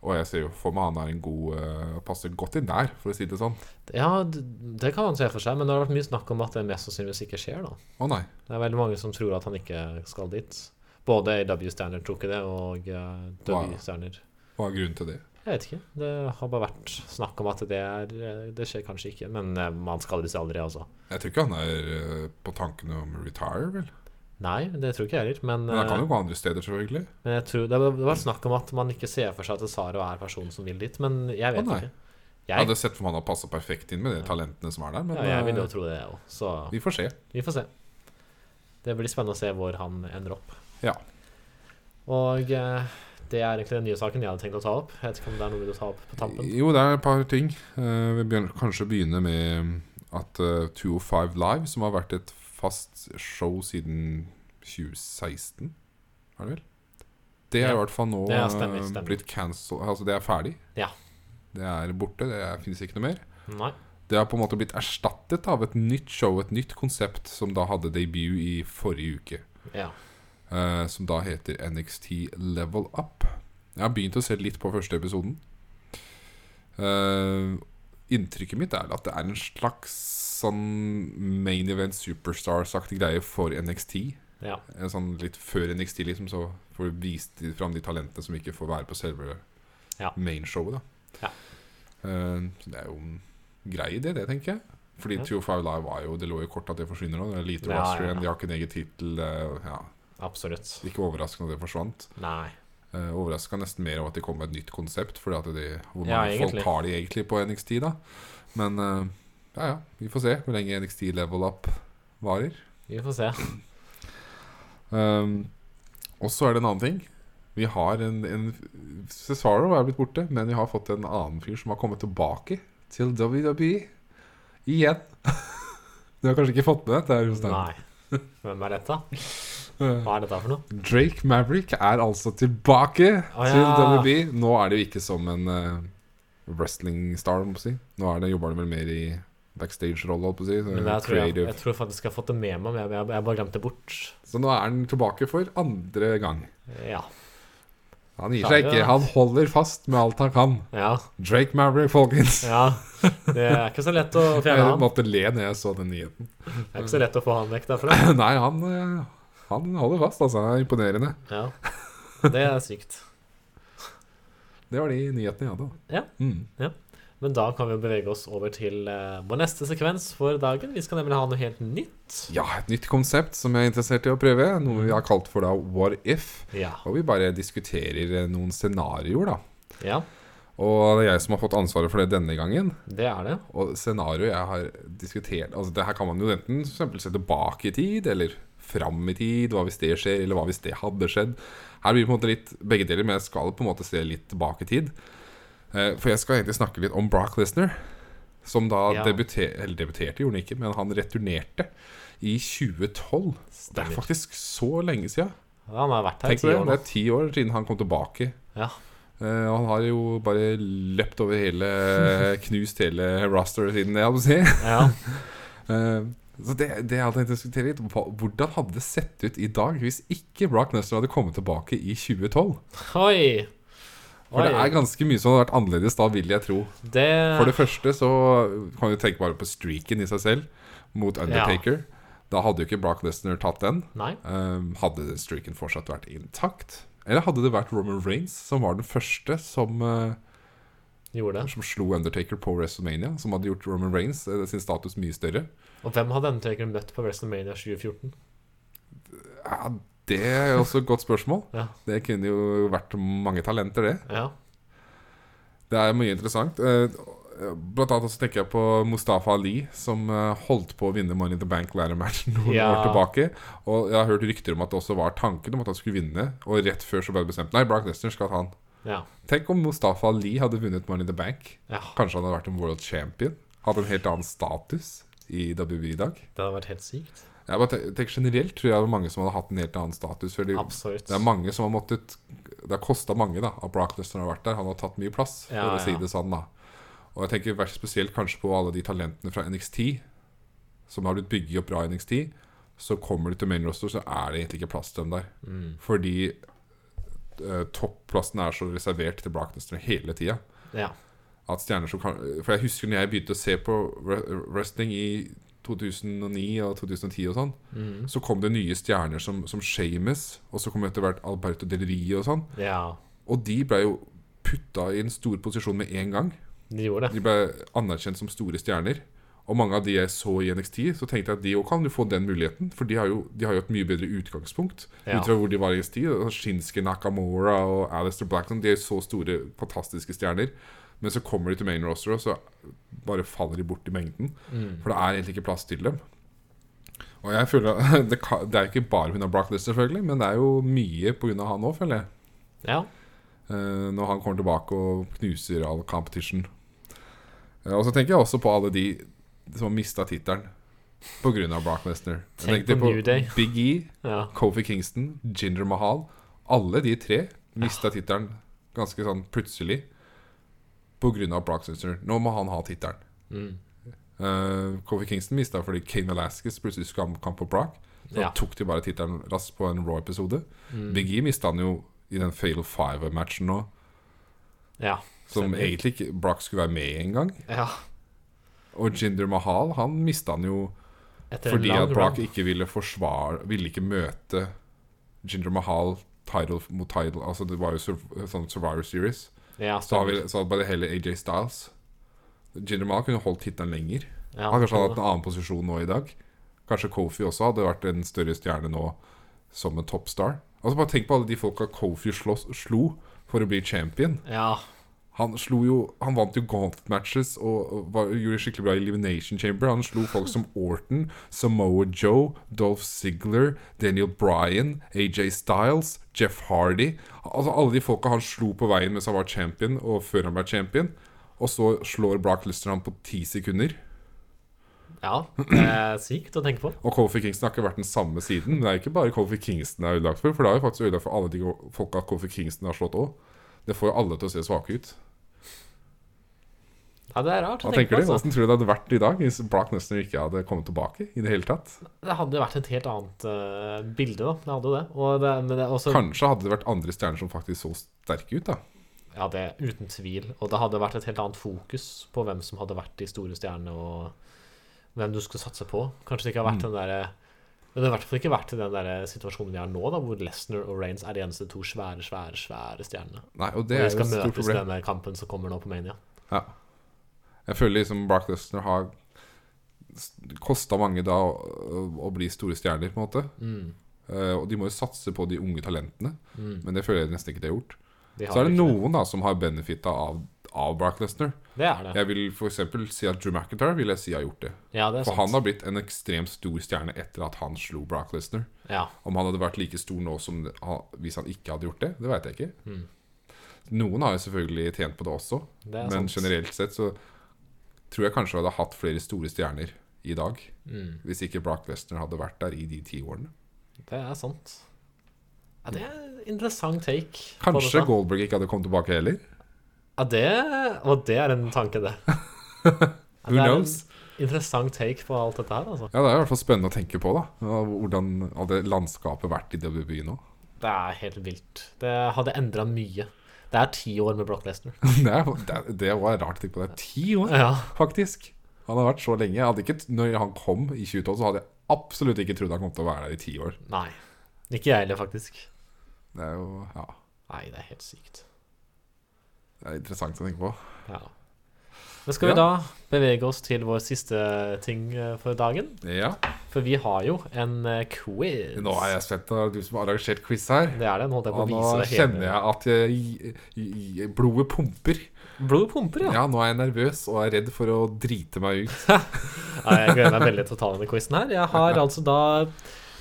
Speaker 2: Og jeg ser jo for meg han er en god eh, Passer godt inn der, for å si det sånn.
Speaker 1: Ja, d- det kan man se for seg, men det har vært mye snakk om at det mest sannsynligvis ikke skjer, da.
Speaker 2: Å nei.
Speaker 1: Det er veldig mange som tror at han ikke skal dit. Både AW Standard tok ikke det, og uh,
Speaker 2: Wow.
Speaker 1: W Standard
Speaker 2: Hva er grunnen til det?
Speaker 1: Jeg vet ikke. Det har bare vært snakk om at det er eh, Det skjer kanskje ikke, men eh, man skader seg aldri, altså.
Speaker 2: Jeg tror ikke han er eh, på tankene om å retire, vel?
Speaker 1: Nei, det tror ikke jeg heller, men,
Speaker 2: Men han kan
Speaker 1: eh,
Speaker 2: jo gå andre steder, selvfølgelig.
Speaker 1: men jeg tror, det har det har vært snakk om at man ikke ser for seg at Saro er personen som vil dit, men jeg
Speaker 2: Å,
Speaker 1: vet
Speaker 2: nei.
Speaker 1: ikke.
Speaker 2: Jeg
Speaker 1: Jeg,
Speaker 2: hadde sett for meg han har passa perfekt inn med de talentene som er der, men
Speaker 1: ja, jeg vil jo
Speaker 2: eh,
Speaker 1: tro det, jeg òg, så
Speaker 2: vi får se.
Speaker 1: vi får se. Det blir spennende å se hvor han ender opp.
Speaker 2: Ja.
Speaker 1: Og eh, det er egentlig den nye saken jeg hadde tenkt å ta opp. Jeg vet ikke om det er noe du vil ta opp på tampen.
Speaker 2: Jo, det er et par ting. Eh, vi begynner kanskje å begynne med at eh, 205 Live, som har vært et fast show siden 2016, er det vel? Det er
Speaker 1: Ja.
Speaker 2: i hvert fall nå
Speaker 1: Ja, stemmer,
Speaker 2: eh,
Speaker 1: stemmer.
Speaker 2: blitt cancel... Altså, det er ferdig.
Speaker 1: Ja.
Speaker 2: Det er borte. Det er, finnes ikke noe mer.
Speaker 1: Nei.
Speaker 2: Det har på en måte blitt erstattet av et nytt show, et nytt konsept, som da hadde debut i forrige uke.
Speaker 1: Ja.
Speaker 2: eh, som da heter NXT Level Up. Jeg har begynt å se litt på første episoden. Eh, inntrykket mitt er at det er en slags sånn main event superstars-aktig greie for NXT.
Speaker 1: ja.
Speaker 2: En sånn litt før NXT, liksom, så får du vist de- fram de talentene som ikke får være på selve
Speaker 1: Ja.
Speaker 2: mainshowet,
Speaker 1: Ja.
Speaker 2: da. Eh, så det er jo en grei idé, det, tenker jeg. Fordi
Speaker 1: Ja.
Speaker 2: 205 Live var jo Det lå jo i kortet at det forsvinner nå. Det er lite
Speaker 1: Ja, ja,
Speaker 2: roster
Speaker 1: ja.
Speaker 2: igjen, de har ikke en egen tittel. eh, ja,
Speaker 1: Absolutt.
Speaker 2: ikke overraskende at det forsvant.
Speaker 1: Nei.
Speaker 2: Eh, overraska nesten mer over at de kom med et nytt konsept. Fordi at de, hvor
Speaker 1: Ja,
Speaker 2: mange folk
Speaker 1: egentlig.
Speaker 2: har de egentlig på NXT, da? Men eh, ja, ja. Vi får se hvor lenge NXT level up varer.
Speaker 1: Vi får se.
Speaker 2: Um, og så er det en annen ting. Vi har en, en Cesaro er blitt borte, men vi har fått en annen fyr som har kommet tilbake til WWE igjen. du har kanskje ikke fått med dette? her, Jostein?
Speaker 1: Nei. Hvem er dette? Hva er dette for noe?
Speaker 2: Drake Maverick er altså tilbake
Speaker 1: Å,
Speaker 2: til
Speaker 1: ja.
Speaker 2: WWE. Nå er det jo ikke som en eh, wrestling-star, må jeg si. Nå er det, jobber han vel mer i backstage-rolle, holdt på å si.
Speaker 1: Men jeg
Speaker 2: Så,
Speaker 1: tror, jeg,
Speaker 2: Eh, creative.
Speaker 1: jeg tror faktisk jeg har fått det med meg, men jeg, jeg, jeg bare glemte det bort.
Speaker 2: så nå er han tilbake for andre gang.
Speaker 1: Ja.
Speaker 2: Han gir
Speaker 1: Ja,
Speaker 2: seg
Speaker 1: det-
Speaker 2: ikke. Han holder fast med alt han kan.
Speaker 1: Ja.
Speaker 2: Drake Maverick, folkens.
Speaker 1: ja. Det er ikke så lett å fjerne
Speaker 2: Jeg
Speaker 1: han.
Speaker 2: måtte le når jeg så den nyheten.
Speaker 1: Det er ikke så lett å få han vekk derfra.
Speaker 2: Nei, han, eh, han holder fast, altså. Det er imponerende.
Speaker 1: Ja. Det er sykt.
Speaker 2: Det var de nyhetene jeg hadde. da.
Speaker 1: Ja.
Speaker 2: Mm.
Speaker 1: Men da kan vi jo bevege oss over til eh, vår neste sekvens for dagen. Vi skal nemlig ha noe helt nytt.
Speaker 2: ja, et nytt konsept som jeg er interessert i å prøve. Noe vi har kalt for da What If.
Speaker 1: Ja.
Speaker 2: Og vi bare diskuterer eh, noen scenarioer, da.
Speaker 1: ja.
Speaker 2: Og det er jeg som har fått ansvaret for det denne gangen.
Speaker 1: Det er det.
Speaker 2: Og scenarioet jeg har diskutert Altså, det her kan man jo enten for eksempel se tilbake i tid, eller fram i tid. Hva hvis det skjer, eller hva hvis det hadde skjedd? Her blir det på en måte litt begge deler, men jeg skal på en måte se litt tilbake i tid. Eh, For jeg skal egentlig snakke litt om Brock Lesnar, som da
Speaker 1: Ja.
Speaker 2: debuterte Eller debuterte gjorde han ikke, men han returnerte i 2012. Det er
Speaker 1: Stemmer.
Speaker 2: faktisk så lenge siden.
Speaker 1: Ja, han har vært her i
Speaker 2: Tenk
Speaker 1: ti
Speaker 2: det,
Speaker 1: år
Speaker 2: det
Speaker 1: nå.
Speaker 2: er ti år siden han kom tilbake
Speaker 1: Ja.
Speaker 2: Eh, han har jo bare løpt over hele eh, Knust hele roster siden det, jeg holdt på å si.
Speaker 1: Ja.
Speaker 2: Eh, Så det, det jeg hadde tenkt å diskutere litt, hva- hvordan hadde det sett ut i dag hvis ikke Brock Nestor hadde kommet tilbake i 2012?
Speaker 1: Oi.
Speaker 2: For det er ganske mye som hadde vært annerledes da, vil jeg tro. For det første så kan du tenke bare på streaken i seg selv mot Undertaker. Da hadde jo ikke Brock Lesnar tatt den.
Speaker 1: Nei.
Speaker 2: Um, hadde den streaken fortsatt vært intakt? Eller hadde det vært Roman Reigns som var den første som, uh,
Speaker 1: Gjorde det.
Speaker 2: som slo Undertaker på WrestleMania? Som hadde gjort Roman Reigns eh, sin status mye større?
Speaker 1: Og hvem hadde Undertaker møtt på WrestleMania 2014?
Speaker 2: Ja, det er også et godt spørsmål.
Speaker 1: Ja.
Speaker 2: Det kunne jo vært mange talenter, det.
Speaker 1: Ja.
Speaker 2: Det er mye interessant. Eh, Blant annet så tenker jeg på Mustafa Ali, som eh, holdt på å vinne Money in the Bank Ladder-matchen noen
Speaker 1: Ja.
Speaker 2: år tilbake. Og jeg har hørt rykter om at det også var tanken om at han skulle vinne, og rett før så ble det bestemt Nei, Brock Lesnar skal ta han.
Speaker 1: Ja.
Speaker 2: Tenk om Mustafa Ali hadde vunnet Money in the Bank.
Speaker 1: ja.
Speaker 2: Kanskje han hadde vært en world champion. Hatt en helt annen status i WWE i dag.
Speaker 1: Det hadde vært helt sykt.
Speaker 2: Jeg bare te- tenker Generelt tror jeg det var mange som hadde hatt en helt annen status. For det,
Speaker 1: Absolutt.
Speaker 2: det er mange som har måttet Det har kosta mange da at Brock Lesnar har vært der. Han har tatt mye plass, for
Speaker 1: Ja,
Speaker 2: å si
Speaker 1: ja.
Speaker 2: det sånn. da Og jeg tenker vært spesielt kanskje på alle de talentene fra NXT som har blitt bygget opp bra i NXT. Så kommer du til main roster, så er det egentlig ikke plass til dem der.
Speaker 1: Mm.
Speaker 2: Fordi eh, topplassen er så reservert til Brock Lesnar hele tida
Speaker 1: Ja.
Speaker 2: at stjerner som kan For jeg husker når jeg begynte å se på wre- wrestling i 2009 og 2010 og sånn,
Speaker 1: Mm.
Speaker 2: så kom det nye stjerner som, som Shames, og så kom etter hvert Alberto Del Rio og sånn.
Speaker 1: ja.
Speaker 2: Og de ble jo putta i en stor posisjon med en gang.
Speaker 1: De gjorde det.
Speaker 2: De ble anerkjent som store stjerner. Og mange av de jeg så i NXT, så tenkte jeg at de òg kan jo få den muligheten. For de har jo, de har jo et mye bedre utgangspunkt
Speaker 1: Ja.
Speaker 2: ut fra hvor de var i NXT. og Shinsuke Nakamura og Alistair Blackton, de er jo så store, fantastiske stjerner. Men så kommer de til main roster, og så bare faller de bort i mengden.
Speaker 1: Mm.
Speaker 2: For det er egentlig ikke plass til dem. Og jeg føler Det, ka- det er jo ikke bare pga. Brock Lesnar, selvfølgelig, men det er jo mye pga. han òg, føler jeg.
Speaker 1: Ja.
Speaker 2: Eh, når han kommer tilbake og knuser all competition. Eh, og så tenker jeg også på alle de som har mista tittelen pga. Brock Lesnar.
Speaker 1: Tenk
Speaker 2: Jeg tenkte
Speaker 1: på New Day.
Speaker 2: Big E,
Speaker 1: Ja.
Speaker 2: Kofi Kingston, Jinder Mahal. Alle de tre mista tittelen ganske sånn plutselig pga. Brock Lesnar. Nå må han ha tittelen.
Speaker 1: Mm.
Speaker 2: Eh, Kofi Kingston mista fordi Kane Velasquez plutselig skulle ha kamp på Brock. Så
Speaker 1: Ja.
Speaker 2: tok de bare tittelen raskt på en Raw-episode.
Speaker 1: Mm.
Speaker 2: Big E mista han jo i den Fatal Five-matchen nå.
Speaker 1: ja.
Speaker 2: Som
Speaker 1: Stemmer.
Speaker 2: egentlig ikke Brock skulle være med engang.
Speaker 1: Ja.
Speaker 2: Og Jinder Mahal han mista han jo
Speaker 1: Etter
Speaker 2: fordi
Speaker 1: en
Speaker 2: at
Speaker 1: lang
Speaker 2: Brock
Speaker 1: run.
Speaker 2: ikke ville forsvare Ville ikke møte Jinder Mahal title mot title. Altså Det var jo sur- sånn Survivor Series.
Speaker 1: Ja,
Speaker 2: Så, har vi,
Speaker 1: stemmer.
Speaker 2: så hadde bare hele AJ Styles. Jinder Mahal kunne holdt tittelen lenger.
Speaker 1: Ja,
Speaker 2: Han kanskje hadde
Speaker 1: stemmer.
Speaker 2: hatt en annen posisjon nå i dag. Kanskje Kofi også hadde vært en større stjerne nå som en toppstar. Altså Bare tenk på alle de folka Kofi slåss, slo for å bli champion.
Speaker 1: ja.
Speaker 2: Han slo jo Han vant jo golfmatches og og var, gjorde skikkelig bra i Elimination Chamber. Han slo folk som Orton, Samoa Joe, Dolph Ziggler, Daniel Bryan, AJ Styles, Jeff Hardy Altså Alle de folka han slo på veien mens han var champion, og før han ble champion. Og så slår Brock Lesnar han på ti sekunder.
Speaker 1: ja. Det er sykt å tenke på.
Speaker 2: Og Kofi Kingston har ikke vært den samme siden. Men det er ikke bare Kofi Kingston det er ødelagt for, for det er jo faktisk ødelagt for alle de folka Kofi Kingston har slått òg. Det får jo alle til å se svake ut.
Speaker 1: Ja, det er rart å
Speaker 2: Hva
Speaker 1: tenke på.
Speaker 2: tenker du?
Speaker 1: Altså.
Speaker 2: Hvordan tror du det hadde vært i dag hvis Brock Nesner ikke hadde kommet tilbake? i det hele tatt?
Speaker 1: Det hadde vært et helt annet eh, bilde, da. Det hadde jo det. Og det, men det er også
Speaker 2: Kanskje hadde det vært andre stjerner som faktisk så sterke ut, da.
Speaker 1: Ja, det er uten tvil. Og det hadde vært et helt annet fokus på hvem som hadde vært de store stjernene, og hvem du skulle satse på. Kanskje det ikke har
Speaker 2: Mm.
Speaker 1: vært den derre Men det har i hvert fall ikke vært i den der situasjonen vi har nå, da, hvor Lesnar og Reigns er de eneste to svære, svære svære stjernene.
Speaker 2: Nei, og
Speaker 1: Og de
Speaker 2: det er jo
Speaker 1: skal
Speaker 2: et stort
Speaker 1: møtes i
Speaker 2: problem.
Speaker 1: denne kampen som kommer nå på Mania.
Speaker 2: Ja. Jeg føler liksom Brock Lesnar har kosta mange da å, å bli store stjerner, på en måte.
Speaker 1: Mm.
Speaker 2: Eh, og de må jo satse på de unge talentene,
Speaker 1: Mm.
Speaker 2: men det føler jeg nesten ikke de har gjort.
Speaker 1: De har
Speaker 2: Så er det
Speaker 1: ikke
Speaker 2: noen da som har benefitta av, av Brock Lesnar.
Speaker 1: Det er det.
Speaker 2: Jeg vil f.eks. si at Drew McIntyre vil jeg si har gjort det.
Speaker 1: Ja, det er
Speaker 2: For han
Speaker 1: sant.
Speaker 2: har blitt en ekstremt stor stjerne etter at han slo Brock Lesnar.
Speaker 1: Ja.
Speaker 2: Om han hadde vært like stor nå som det- ha- hvis han ikke hadde gjort det, det vet jeg ikke.
Speaker 1: Mm.
Speaker 2: Noen har jo selvfølgelig tjent på det også,
Speaker 1: Det er
Speaker 2: men
Speaker 1: sant.
Speaker 2: generelt sett så tror jeg kanskje jeg hadde hatt flere store stjerner i dag
Speaker 1: Mm.
Speaker 2: hvis ikke Brock Lesnar hadde vært der i de ti årene.
Speaker 1: Det er sant. Ja, det er interessant take. på
Speaker 2: Kanskje
Speaker 1: dette.
Speaker 2: Goldberg ikke hadde kommet tilbake heller?
Speaker 1: Ja, det Og det er en tanke, det.
Speaker 2: Who
Speaker 1: det er en
Speaker 2: knows?
Speaker 1: interessant take på alt dette her, altså.
Speaker 2: Ja, Det er i hvert fall spennende å tenke på, da. Ja, Hvordan hadde landskapet vært i WWE nå?
Speaker 1: Det er helt vilt. Det hadde endra mye. Det er ti år med Brock Lesnar.
Speaker 2: Det, er, det, er- det var rart å tenke på det. Ti år,
Speaker 1: Ja.
Speaker 2: faktisk! Han har vært så lenge. Jeg hadde ikke, når han kom i 2012, så hadde jeg absolutt ikke trodd han kom til å være der i ti år.
Speaker 1: Nei. Ikke jeg heller, faktisk.
Speaker 2: Det er jo ja,
Speaker 1: Nei, det er helt sykt.
Speaker 2: det er interessant å tenke på.
Speaker 1: Ja. Men skal vi
Speaker 2: Ja.
Speaker 1: da bevege oss til vår siste ting eh, for dagen?
Speaker 2: Ja,
Speaker 1: For vi har jo en eh, quiz.
Speaker 2: Nå er jeg spent. Det er du som har arrangert quiz her.
Speaker 1: Det er det. Nå holdt jeg på å
Speaker 2: Og nå
Speaker 1: vise deg
Speaker 2: kjenner jeg at jeg, jeg, blodet pumper.
Speaker 1: Blodet pumper, ja.
Speaker 2: Ja, nå er jeg nervøs og er redd for å drite meg ut.
Speaker 1: Nei, jeg gleder meg veldig til å ta denne quizen her. Jeg har altså da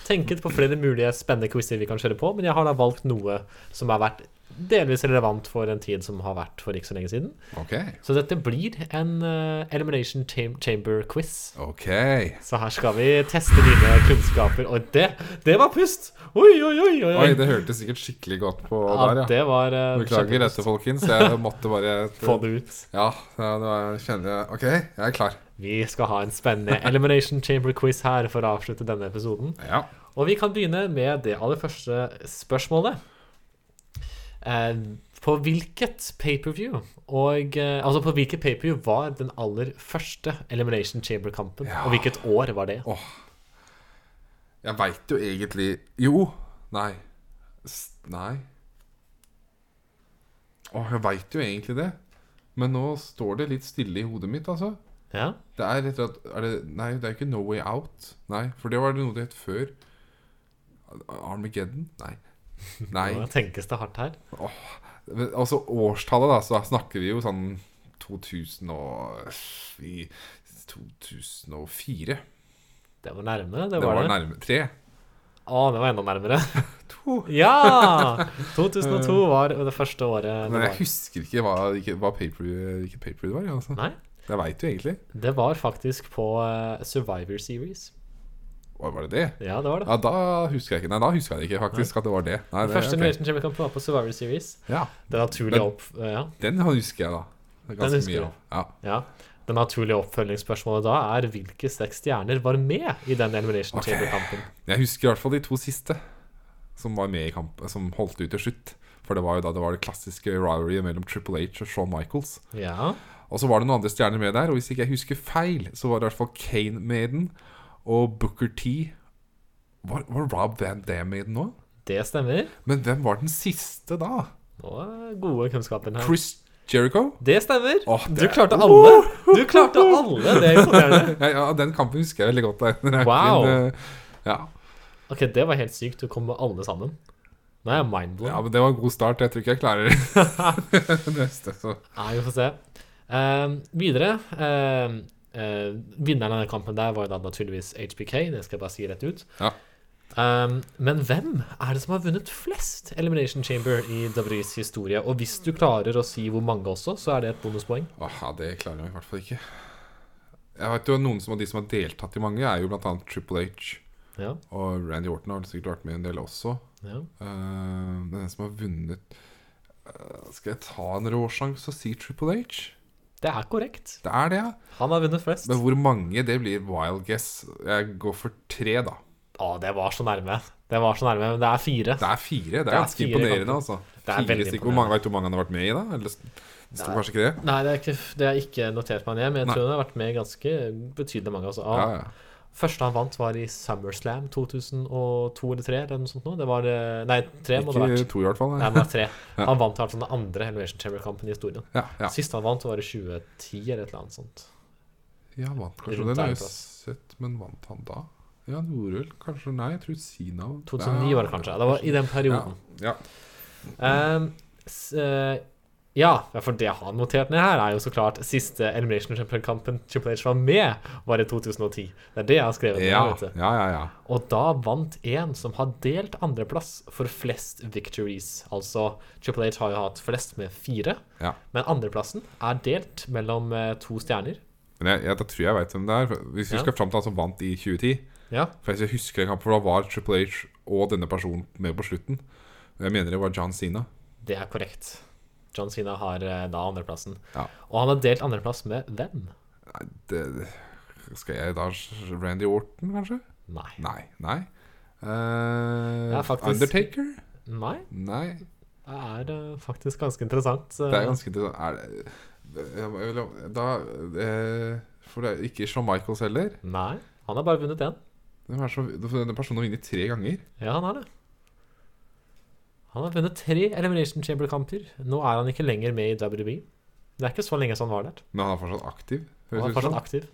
Speaker 1: tenket på flere mulige spennende quizer vi kan kjøre på, men jeg har da valgt noe som har vært delvis relevant for en tid som har vært for ikke så lenge siden.
Speaker 2: Ok,
Speaker 1: Så dette blir en eh, Elimination Cham- Chamber-quiz.
Speaker 2: ok
Speaker 1: Så her skal vi teste dine kunnskaper. Og det, det var pust! Oi, oi, oi! oi,
Speaker 2: Oi, det hørtes sikkert skikkelig godt på der,
Speaker 1: ja,
Speaker 2: ja.
Speaker 1: det var eh,
Speaker 2: Beklager
Speaker 1: kjempepust.
Speaker 2: dette, folkens. Jeg måtte bare
Speaker 1: Få det ut.
Speaker 2: Ja, ja, nå er- kjenner jeg OK, jeg er klar.
Speaker 1: Vi skal ha en spennende Elimination Chamber-quiz her for å avslutte denne episoden.
Speaker 2: Ja.
Speaker 1: Og vi kan begynne med det aller første spørsmålet. Eh, på hvilket pay-per-view og eh, Altså, på hvilket pay-per-view var den aller første Elimination Chamber-kampen?
Speaker 2: Ja.
Speaker 1: Og hvilket år var det?
Speaker 2: Jeg veit jo egentlig Jo. Nei. S nei. Å, jeg veit jo egentlig det. Men nå står det litt stille i hodet mitt, altså.
Speaker 1: Ja?
Speaker 2: Det er rett og slett er det, Nei, det er ikke No Way Out. Nei, for det var det noe det het før. Armageddon? Nei. Nei.
Speaker 1: Nå tenkes det hardt her.
Speaker 2: Men, altså årstallet, da, så snakker vi jo sånn 2000 og i 2004.
Speaker 1: Det var nærmere, det
Speaker 2: Det
Speaker 1: var
Speaker 2: var
Speaker 1: det.
Speaker 2: nærme tre.
Speaker 1: Å, det var enda nærmere.
Speaker 2: To. Eh.
Speaker 1: Ja! 2002 var det første året
Speaker 2: Men
Speaker 1: det
Speaker 2: jeg
Speaker 1: var.
Speaker 2: husker ikke hva, ikke, hva paper, hvilket paper det var. Altså.
Speaker 1: Nei,
Speaker 2: Jeg veit jo egentlig.
Speaker 1: det var faktisk på eh, Survivor Series.
Speaker 2: Hva var det det?
Speaker 1: Ja, det var det.
Speaker 2: Ja, da husker jeg ikke. Nei, da husker jeg ikke faktisk at det var det. Nei,
Speaker 1: Den
Speaker 2: det
Speaker 1: første
Speaker 2: ok.
Speaker 1: Elimination Chamber-kampen var på Survivor Series.
Speaker 2: Ja,
Speaker 1: Den naturlige
Speaker 2: Men-
Speaker 1: opp... eh, ja.
Speaker 2: Den husker jeg, da. Det er Ganske
Speaker 1: husker du.
Speaker 2: mye. av. Ja.
Speaker 1: Ja. Det naturlige oppfølgingsspørsmålet da er hvilke seks stjerner var med i den Elimination
Speaker 2: Ok.
Speaker 1: Chamber-kampen?
Speaker 2: Jeg husker i hvert fall de to siste som var med i kampen, som holdt ut til slutt. For det var jo da det var det klassiske rivalryet mellom Triple H og Shawn Michaels.
Speaker 1: Ja.
Speaker 2: Og så var det noen andre stjerner med der, og hvis ikke jeg husker feil, så var det i hvert fall Kane med i den, og Booker T. Var, var Rob Van Dam med i den nå?
Speaker 1: Det stemmer.
Speaker 2: Men hvem var den siste da?
Speaker 1: Nå er gode kunnskapen her.
Speaker 2: Chris Jericho?
Speaker 1: Det stemmer.
Speaker 2: Åh, det
Speaker 1: Du
Speaker 2: er-
Speaker 1: klarte alle! Du klarte alle! Det er imponerende.
Speaker 2: Ja, ja, den kampen husker jeg veldig godt. da. Den er
Speaker 1: Wow.
Speaker 2: fin, eh, Ja.
Speaker 1: Ok, det var helt sykt. Du kom med alle sammen. Nå er jeg mindblown.
Speaker 2: ja, men det var en god start. Jeg tror ikke jeg klarer det neste. Så.
Speaker 1: Nei, vi får se. Eh, videre eh, eh, Vinneren av den kampen der var jo da naturligvis HBK, det skal jeg bare si rett ut.
Speaker 2: Ja.
Speaker 1: Eh, men hvem er det som har vunnet flest Elimination Chamber i WWEs historie? Og hvis du klarer å si hvor mange også, så er det et bonuspoeng.
Speaker 2: Åh, ja, det klarer jeg i hvert fall ikke. Jeg vet jo Noen som, av de som har deltatt i mange, er jo blant annet Triple H.
Speaker 1: Ja,
Speaker 2: Og Randy Orton har vel sikkert vært med en del også.
Speaker 1: ja.
Speaker 2: Eh, den som har vunnet eh, Skal jeg ta en råsjanse og si Triple H?
Speaker 1: Det er korrekt.
Speaker 2: Det er det, ja.
Speaker 1: Han har vunnet flest.
Speaker 2: Men hvor mange, det blir wild guess. Jeg går for tre, da.
Speaker 1: Å, det var så nærme. Det var så nærme, men det er fire.
Speaker 2: Det er fire. Det er,
Speaker 1: er
Speaker 2: ganske
Speaker 1: fire
Speaker 2: imponerende,
Speaker 1: kamper.
Speaker 2: altså.
Speaker 1: Det er
Speaker 2: Fire
Speaker 1: veldig
Speaker 2: stykker. Hvor mange Vet du hvor mange han har vært med i, da? Eller, det står
Speaker 1: Nei.
Speaker 2: kanskje ikke det?
Speaker 1: Nei, det er ikke, det er ikke notert meg ned, men jeg
Speaker 2: Nei.
Speaker 1: tror han har vært med ganske betydelig mange. Altså.
Speaker 2: Ja,
Speaker 1: Ja,
Speaker 2: ja.
Speaker 1: Første han vant var i SummerSlam 2002 eller 3 eller noe sånt noe. Det var eh, Nei, tre må det ha
Speaker 2: Ikke
Speaker 1: vært.
Speaker 2: to, i hvert fall.
Speaker 1: Nei,
Speaker 2: Nei.
Speaker 1: det var tre. Han vant altså den andre Elevation Chamber-kampen i historien.
Speaker 2: Ja, ja.
Speaker 1: Siste han vant, var i 2010 eller et eller annet sånt.
Speaker 2: ja, vant kanskje
Speaker 1: Rundt
Speaker 2: den.
Speaker 1: der, altså.
Speaker 2: Har jeg
Speaker 1: plass.
Speaker 2: sett, men vant han da? Ja, han gjorde vel kanskje Nei, jeg tror Sina
Speaker 1: 2009 var det kanskje. Det var i den
Speaker 2: Ja,
Speaker 1: perioden.
Speaker 2: ja.
Speaker 1: Ehm, s- eh, ja, for det jeg har notert ned her, er jo så klart siste Elimination Chamber-kampen Triple H var med, var i 2010. Det er det jeg har skrevet ned.
Speaker 2: Ja,
Speaker 1: vet du.
Speaker 2: ja, ja, ja.
Speaker 1: Og da vant en som har delt andreplass for flest victories. Altså, Triple H har jo hatt flest med fire,
Speaker 2: Ja.
Speaker 1: men andreplassen er delt mellom eh, to stjerner.
Speaker 2: Men jeg, jeg, da tror jeg veit hvem det er. for Hvis vi
Speaker 1: Ja.
Speaker 2: skal fram til han som vant i 2010
Speaker 1: Ja,
Speaker 2: For jeg husker en kamp hvor da var Triple H og denne personen med på slutten. Jeg mener det var John Sina.
Speaker 1: Det er korrekt. John Sina har eh, da andreplassen.
Speaker 2: Ja.
Speaker 1: Og han har delt andreplass med hvem?
Speaker 2: Nei, det, det- skal jeg da Randy Orton, kanskje?
Speaker 1: Nei.
Speaker 2: Nei. Nei. Eh,
Speaker 1: Ja, faktisk.
Speaker 2: Undertaker?
Speaker 1: Nei,
Speaker 2: Nei.
Speaker 1: det er eh, faktisk ganske interessant. eh.
Speaker 2: Det er ganske interessant. Er det, jeg må- jeg vil- da eh, For det er ikke Shawn Michaels heller.
Speaker 1: Nei, han har bare vunnet én.
Speaker 2: Hvem er det som- denne personen har vunnet tre ganger.
Speaker 1: Ja, han har det. Han har vunnet tre Elimination Chamber-kamper. Nå er han ikke lenger med i WWE. Det er ikke så lenge som han var der.
Speaker 2: Men han er fortsatt aktiv. høres
Speaker 1: Han
Speaker 2: ut
Speaker 1: er fortsatt
Speaker 2: som.
Speaker 1: aktiv.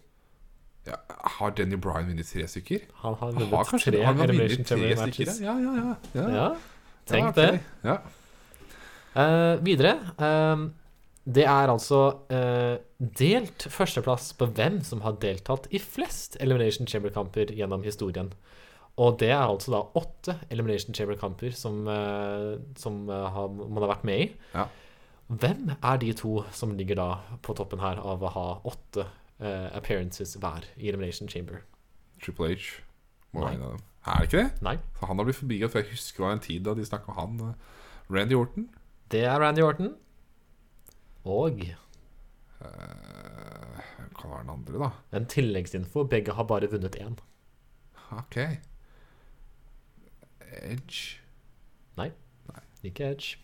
Speaker 2: ja, har Denny Bryan vunnet tre stykker?
Speaker 1: Han har
Speaker 2: Han
Speaker 1: vunnet
Speaker 2: har kanskje
Speaker 1: tre
Speaker 2: han har
Speaker 1: Elimination
Speaker 2: vunnet tre stykker,
Speaker 1: Chamber-matches.
Speaker 2: ja. Ja, ja, ja. ja.
Speaker 1: Ja,
Speaker 2: Ja,
Speaker 1: tenk
Speaker 2: ok.
Speaker 1: det.
Speaker 2: Ja.
Speaker 1: Eh, videre. eh, det er altså eh, delt førsteplass på hvem som har deltatt i flest Elimination Chamber-kamper gjennom historien. Og det er altså da åtte Elimination Chamber-kamper som, eh, som eh, har, man har vært med i.
Speaker 2: Ja.
Speaker 1: Hvem er de to som ligger da på toppen her av å ha åtte eh, appearances hver i Elimination Chamber?
Speaker 2: Triple H må
Speaker 1: Nei.
Speaker 2: være en av dem. Er det ikke det?
Speaker 1: Nei,
Speaker 2: For han har blitt forbigått. For jeg husker det var en tid da de snakka om han. eh, Randy Orton.
Speaker 1: det er Randy Orton. Og
Speaker 2: Eh, Hvem kan være den andre, da?
Speaker 1: en tilleggsinfo. Begge har bare vunnet én.
Speaker 2: Ok. Edge
Speaker 1: Ikke Edge.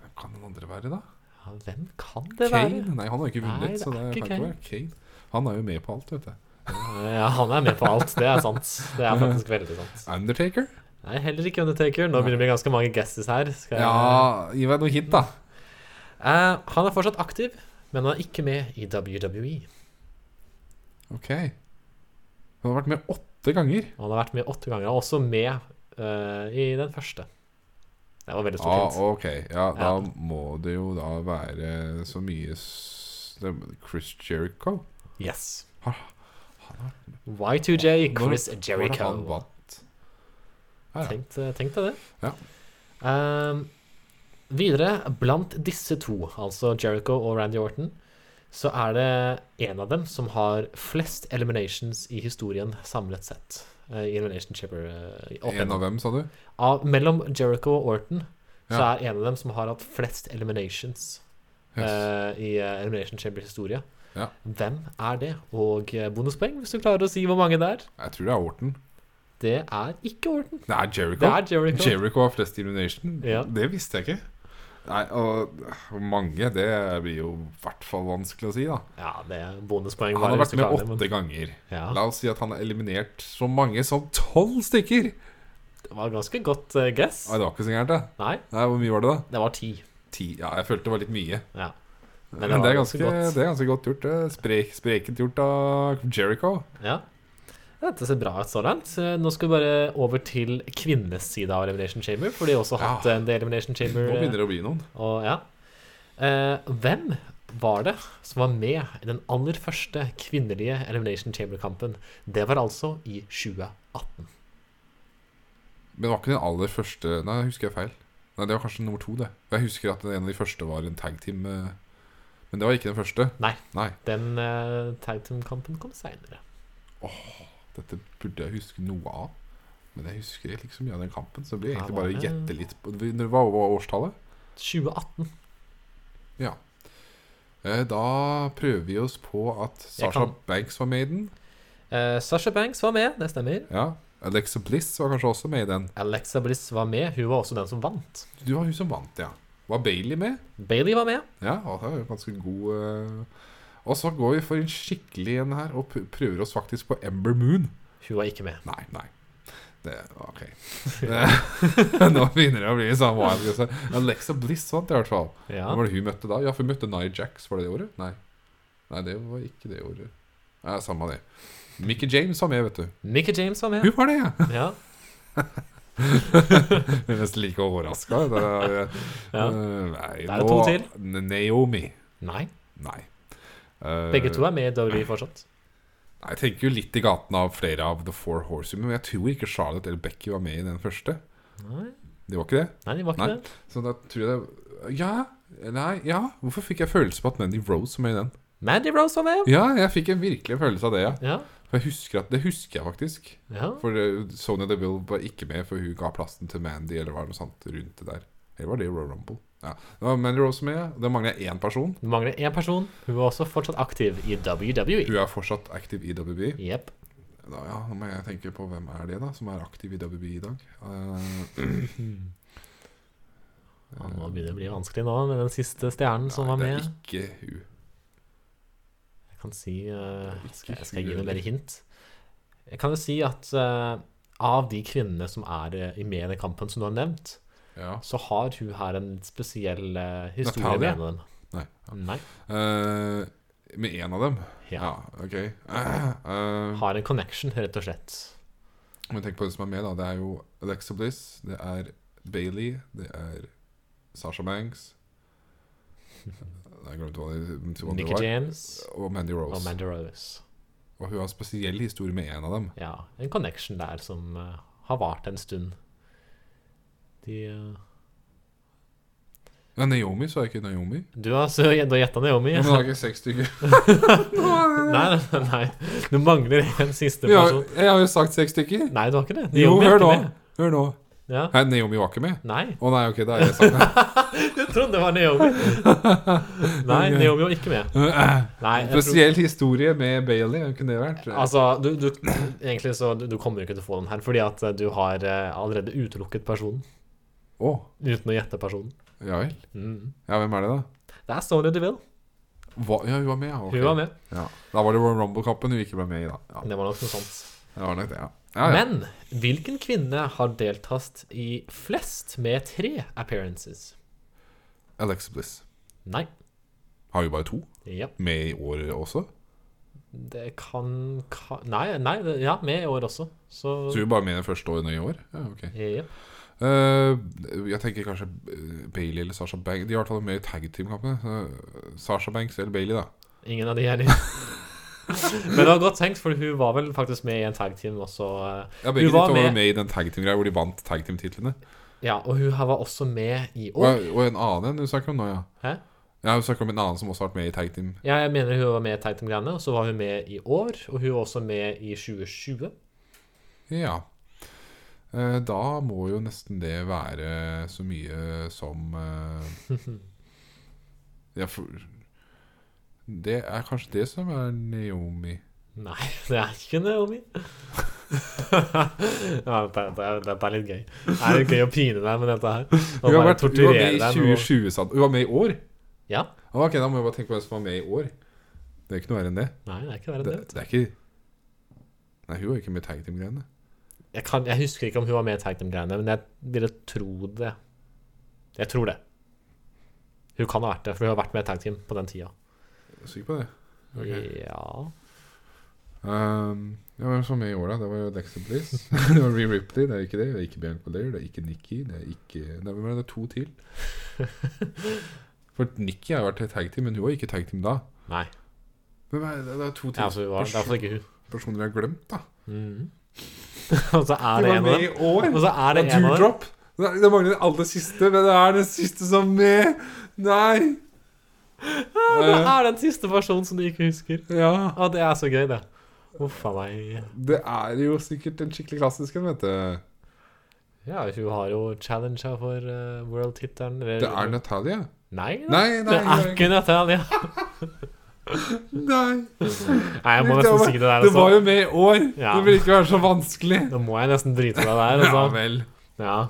Speaker 2: Hvem kan den andre være, da?
Speaker 1: Ja, hvem kan det
Speaker 2: Kane?
Speaker 1: være?
Speaker 2: Nei, han har jo ikke
Speaker 1: Nei,
Speaker 2: vunnet.
Speaker 1: det
Speaker 2: så
Speaker 1: er
Speaker 2: det
Speaker 1: ikke
Speaker 2: kan ikke være Kane. Han er jo med på alt, vet du.
Speaker 1: Ja, han er med på alt. Det er sant. Det er faktisk veldig sant.
Speaker 2: Undertaker?
Speaker 1: Nei, heller ikke Undertaker. Nå begynner det å bli ganske mange guesses her. Skal jeg...
Speaker 2: Ja, gi meg noe hint, da.
Speaker 1: Eh, han er fortsatt aktiv, men han er ikke med i E. WWE.
Speaker 2: Ok. Han har vært med åtte ganger.
Speaker 1: Han har vært med åtte ganger. Han er også med eh, i den første. Det var veldig
Speaker 2: Ja,
Speaker 1: stort. hint.
Speaker 2: ok. Ja, da
Speaker 1: Ja.
Speaker 2: må det jo da være så mye s- det- Chris Jericho.
Speaker 1: Yes.
Speaker 2: Ha-
Speaker 1: Y2J, Chris
Speaker 2: Hvor er han
Speaker 1: Jericho.
Speaker 2: vant? Ja, ja.
Speaker 1: Tenk, eh, tenk deg det.
Speaker 2: Ja.
Speaker 1: Ehm, videre, blant disse to, altså Jericho og Randy Orton, så er det en av dem som har flest eliminations i historien samlet sett. eh, I Elimination Chamber. eh, opp
Speaker 2: En av
Speaker 1: igjennom.
Speaker 2: hvem, sa du?
Speaker 1: Av- Mellom Jericho og Orton så
Speaker 2: Ja.
Speaker 1: er en av dem som har hatt flest eliminations
Speaker 2: Yes.
Speaker 1: eh, i eh, Elimination Chamber historie.
Speaker 2: Ja.
Speaker 1: Hvem er det? Og eh, bonuspoeng hvis du klarer å si hvor mange det er.
Speaker 2: Jeg tror det er Orton.
Speaker 1: Det er ikke Orton.
Speaker 2: Det er Jericho.
Speaker 1: Det er Jericho.
Speaker 2: Jericho har flest elimination.
Speaker 1: Ja.
Speaker 2: Det visste jeg ikke. Nei, og hvor mange, det blir jo i hvert fall vanskelig å si, da.
Speaker 1: Ja, det er bonuspoeng.
Speaker 2: Han har
Speaker 1: hvis
Speaker 2: vært
Speaker 1: du
Speaker 2: med
Speaker 1: klarer det, men-
Speaker 2: åtte ganger.
Speaker 1: Ja,
Speaker 2: La oss si at han har eliminert så mange som tolv stykker! Nei,
Speaker 1: det var ganske godt eh, guess.
Speaker 2: det var ikke så gærent, det.
Speaker 1: Nei,
Speaker 2: Nei, Hvor mye var det, da?
Speaker 1: det var ti.
Speaker 2: Ti? Ja, jeg følte det var litt mye.
Speaker 1: Ja.
Speaker 2: Men det,
Speaker 1: var
Speaker 2: er ganske,
Speaker 1: godt.
Speaker 2: det er ganske godt gjort. det. Sprek, sprekent gjort av Jericho.
Speaker 1: Ja. Dette ser bra ut så langt. Eh, Nå skal vi bare over til kvinnenes side av Elimination Chamber, for de har også
Speaker 2: Ja.
Speaker 1: hatt en del Elimination
Speaker 2: Nå
Speaker 1: Chamber. eh,
Speaker 2: begynner det å bli noen.
Speaker 1: Og, ja. Eh, hvem var det som var med i den aller første kvinnelige Elimination Chamber-kampen? Det var altså i 2018.
Speaker 2: Men det var ikke den aller første Nei, jeg husker jeg feil. Nei, Det var kanskje nummer to, det. Jeg husker at en av de første var en tag team. eh, Men det var ikke den første.
Speaker 1: Nei.
Speaker 2: Nei,
Speaker 1: Den uh, tag team-kampen kom seinere.
Speaker 2: Dette burde jeg huske noe av. Men jeg husker ikke så mye av den kampen, så det blir
Speaker 1: Ja,
Speaker 2: egentlig
Speaker 1: var
Speaker 2: bare å
Speaker 1: det-
Speaker 2: gjette litt på Når Hva var årstallet?
Speaker 1: 2018.
Speaker 2: Ja. Eh, Da prøver vi oss på at
Speaker 1: Jeg
Speaker 2: Sasha
Speaker 1: kan-
Speaker 2: Banks var med i den.
Speaker 1: Eh, Sasha Banks var med, det stemmer.
Speaker 2: Ja. Alexa Bliss var kanskje også med i den.
Speaker 1: Alexa Bliss var med, hun var også den som vant.
Speaker 2: Du var hun som vant, ja. Var Bailey med?
Speaker 1: Bailey var med.
Speaker 2: Ja, og det er jo ganske god eh. Og så går vi for en skikkelig en her og pr- prøver oss faktisk på Ember Moon.
Speaker 1: Hun var ikke med.
Speaker 2: Nei, nei. Det, ok. Det, nå begynner det å bli sånn wild. altså. Alexa Bliss vant i hvert fall.
Speaker 1: Ja.
Speaker 2: Hvem var det hun møtte da? Ja, for hun møtte Nia Jax, var det det året? Nei. Nei, det var ikke det året. Nei, samme det. Mickey James var med, vet du.
Speaker 1: Mickey James var med.
Speaker 2: Hun var det, ja!
Speaker 1: Ja.
Speaker 2: Jeg er nesten like overraska.
Speaker 1: Ja.
Speaker 2: eh, Nei,
Speaker 1: Da er det to
Speaker 2: nå-
Speaker 1: til.
Speaker 2: Naomi.
Speaker 1: Nei,
Speaker 2: Nei. Eh,
Speaker 1: begge to er med i WWE fortsatt.
Speaker 2: Jeg tenker jo litt i gaten av flere av The Four Horsemen, men jeg tror ikke Charlotte eller Becky var med i den første.
Speaker 1: Nei,
Speaker 2: De var ikke det?
Speaker 1: Nei de var ikke
Speaker 2: Nei.
Speaker 1: det.
Speaker 2: Så da tror jeg det Ja, nei, ja Hvorfor fikk jeg følelse på at Mandy Rose var med i den?
Speaker 1: Mandy Rose var med.
Speaker 2: Ja, jeg fikk en virkelig følelse av det, ja.
Speaker 1: Ja.
Speaker 2: For jeg husker at, Det husker jeg faktisk.
Speaker 1: Ja.
Speaker 2: For eh, Sonya Deville var ikke med, for hun ga plassen til Mandy eller var det noe sånt rundt det der. Eller var det Royal Rumble? Ja. Det var Mandy Rose med. Da mangler jeg én person.
Speaker 1: Det mangler én person. Hun var også fortsatt aktiv i E. WWE.
Speaker 2: Hun er fortsatt aktiv i WB.
Speaker 1: Jepp.
Speaker 2: Da, ja, nå må jeg tenke på hvem er det da som er aktiv i WB i dag. Eh,
Speaker 1: Ja, nå begynner det å bli vanskelig nå med den siste stjernen som var
Speaker 2: Nei,
Speaker 1: med.
Speaker 2: Det er ikke hun.
Speaker 1: Jeg kan si eh,
Speaker 2: ikke
Speaker 1: Skal jeg,
Speaker 2: hun
Speaker 1: skal jeg gi noen
Speaker 2: heller.
Speaker 1: mer hint? Jeg kan jo si at eh, av de kvinnene som er eh, i med i den kampen som du har nevnt,
Speaker 2: Ja.
Speaker 1: så har hun her en litt spesiell eh, historie
Speaker 2: Natalia?
Speaker 1: med en av dem.
Speaker 2: Nei.
Speaker 1: Nei.
Speaker 2: Eh, med én av dem?
Speaker 1: Ja.
Speaker 2: ok. Eh,
Speaker 1: Har en connection, rett og slett.
Speaker 2: Men tenk på hvem som er med, da. Det er jo Alexa Bliss, det er Bailey, det er Sasha Banks Jeg glemte hva de de to
Speaker 1: Nikki
Speaker 2: andre var.
Speaker 1: James
Speaker 2: Og Mandy Rose.
Speaker 1: og
Speaker 2: Og,
Speaker 1: Mandy Rose.
Speaker 2: hun har en spesiell historie med en av dem.
Speaker 1: Ja, en connection der som eh, har vart en stund. De eh,
Speaker 2: Men Naomi, så er ikke Naomi.
Speaker 1: Du har så du har gjetta Naomi.
Speaker 2: Men hun har ikke seks stykker.
Speaker 1: Nei, nei, nei. Du mangler en siste
Speaker 2: Vi har,
Speaker 1: person.
Speaker 2: jeg har jo sagt seks stykker.
Speaker 1: Nei, du har ikke det.
Speaker 2: Jo,
Speaker 1: Naomi er
Speaker 2: hør nå.
Speaker 1: ikke med.
Speaker 2: Hør nå.
Speaker 1: Ja.
Speaker 2: Nei, Naomi var ikke med.
Speaker 1: Nei,
Speaker 2: Å nei, ok, da har jeg sagt det.
Speaker 1: jeg trodde det var Naomi. Nei, Naomi var ikke med. Nei, jeg tror,
Speaker 2: Spesiell historie med Bailey, hvem kunne det vært?
Speaker 1: altså, du, du, egentlig så du, du kommer jo ikke til å få den her, fordi at eh, du har eh, allerede utelukket personen.
Speaker 2: Å,
Speaker 1: Uten å gjette personen.
Speaker 2: ja vel.
Speaker 1: Mm.
Speaker 2: Ja, hvem er det, da?
Speaker 1: Det er Sonya Deville.
Speaker 2: Hva? Ja, hun var med, ja. ok.
Speaker 1: Hun var med.
Speaker 2: Ja. Da var det Royal Rumble-kampen hun ikke ble med i, da. Ja,
Speaker 1: Det var nok noe sånt.
Speaker 2: det var nok det, ja. ja, ja.
Speaker 1: Men hvilken kvinne har deltatt i flest med tre appearances?
Speaker 2: Alexa Bliss.
Speaker 1: Nei.
Speaker 2: Har jo bare to
Speaker 1: Ja.
Speaker 2: med i året også.
Speaker 1: Det kan, kan Nei, nei det- ja, med i år også. Så
Speaker 2: Så hun er bare med det første året nå i år. Ja, ok.
Speaker 1: Jep.
Speaker 2: Eh, jeg tenker kanskje eh, Bailey eller Sasha Banks. De er i hvert fall med i tag team-kampene. så eh, Sasha Banks eller Bailey, da.
Speaker 1: Ingen av de er i. Men det var godt tenkt, for hun var vel faktisk med i en tag team også. eh.
Speaker 2: Ja, Begge
Speaker 1: Hun
Speaker 2: de to
Speaker 1: var
Speaker 2: var jo
Speaker 1: med-
Speaker 2: med i den tag team-greia hvor de vant tag team-titlene.
Speaker 1: Ja, og hun her var også med i
Speaker 2: Og,
Speaker 1: år.
Speaker 2: og en annen en du snakker om nå, ja.
Speaker 1: Hæ?
Speaker 2: Ja, Du snakker om en annen som også har vært med i tag team.
Speaker 1: Ja, jeg mener hun var med i tag team-greiene, og så var hun med i år. Og hun var også med i 2020.
Speaker 2: Ja. Eh, Da må jo nesten det være så mye som eh, Ja, for Det er kanskje det som er Naomi.
Speaker 1: Nei, det er ikke Naomi. ja, det, er- det, er- det er litt gøy. Det er litt gøy å pine deg med dette her. Og
Speaker 2: Hun,
Speaker 1: bare
Speaker 2: har vært, hun var med
Speaker 1: torturere
Speaker 2: i
Speaker 1: deg med å-
Speaker 2: 2020, sant? Hun var med i år?
Speaker 1: Ja.
Speaker 2: Ah, Ok, da må jeg bare tenke på hvem som var med i år. Det er ikke noe verre enn det.
Speaker 1: Nei, det er ikke verre enn
Speaker 2: Det,
Speaker 1: det. vet du.
Speaker 2: det er ikke Nei, hun var ikke med i tag team-greiene.
Speaker 1: Jeg, kan, jeg husker ikke om hun var med i tag team-greiene, men jeg ville tro det. Jeg tror det. Hun kan ha vært det, for hun har vært med i tag team på den tida.
Speaker 2: Jeg er sikker på det. Ok.
Speaker 1: Ja
Speaker 2: Um, ja, hvem som var med i år, da? Det var jo Dexter Bliss. det var Ree Ripley, det er ikke det. Det er ikke Bianca Belair, det er ikke Nikki. Det er ikke Nei, hvem er det? Det er to til. For Nikki har vært i tag team, men hun var ikke i tag team da.
Speaker 1: Nei.
Speaker 2: Hvem er det? Det er to til
Speaker 1: Ja, altså, hun var, det er iallfall ikke hun.
Speaker 2: personer jeg har glemt, da.
Speaker 1: Mhm. og så er
Speaker 2: De
Speaker 1: det
Speaker 2: var
Speaker 1: en av
Speaker 2: med
Speaker 1: dem.
Speaker 2: i år!
Speaker 1: Og så er det
Speaker 2: Det
Speaker 1: en
Speaker 2: er
Speaker 1: av dem.
Speaker 2: Doodrop. Det det mangler den aller siste, men det er den siste som er med! Nei! Eh,
Speaker 1: Det er den siste personen som du ikke husker.
Speaker 2: Ja.
Speaker 1: Å, det er så gøy, det. Uff a meg.
Speaker 2: Det er jo sikkert en skikkelig klassisk en, vet du.
Speaker 1: Ja, hun har jo challenga for eh, world-tittelen. eller-
Speaker 2: Det er Natalia.
Speaker 1: Nei, da.
Speaker 2: Nei, nei,
Speaker 1: det er
Speaker 2: nei.
Speaker 1: ikke Natalia.
Speaker 2: Nei.
Speaker 1: Nei, jeg må
Speaker 2: Det var-
Speaker 1: nesten si det der.
Speaker 2: Det
Speaker 1: Altså.
Speaker 2: var jo med i år.
Speaker 1: Ja.
Speaker 2: Det vil ikke være så vanskelig.
Speaker 1: Nå må jeg nesten drite meg der.
Speaker 2: Ja
Speaker 1: Altså.
Speaker 2: vel.
Speaker 1: Ja.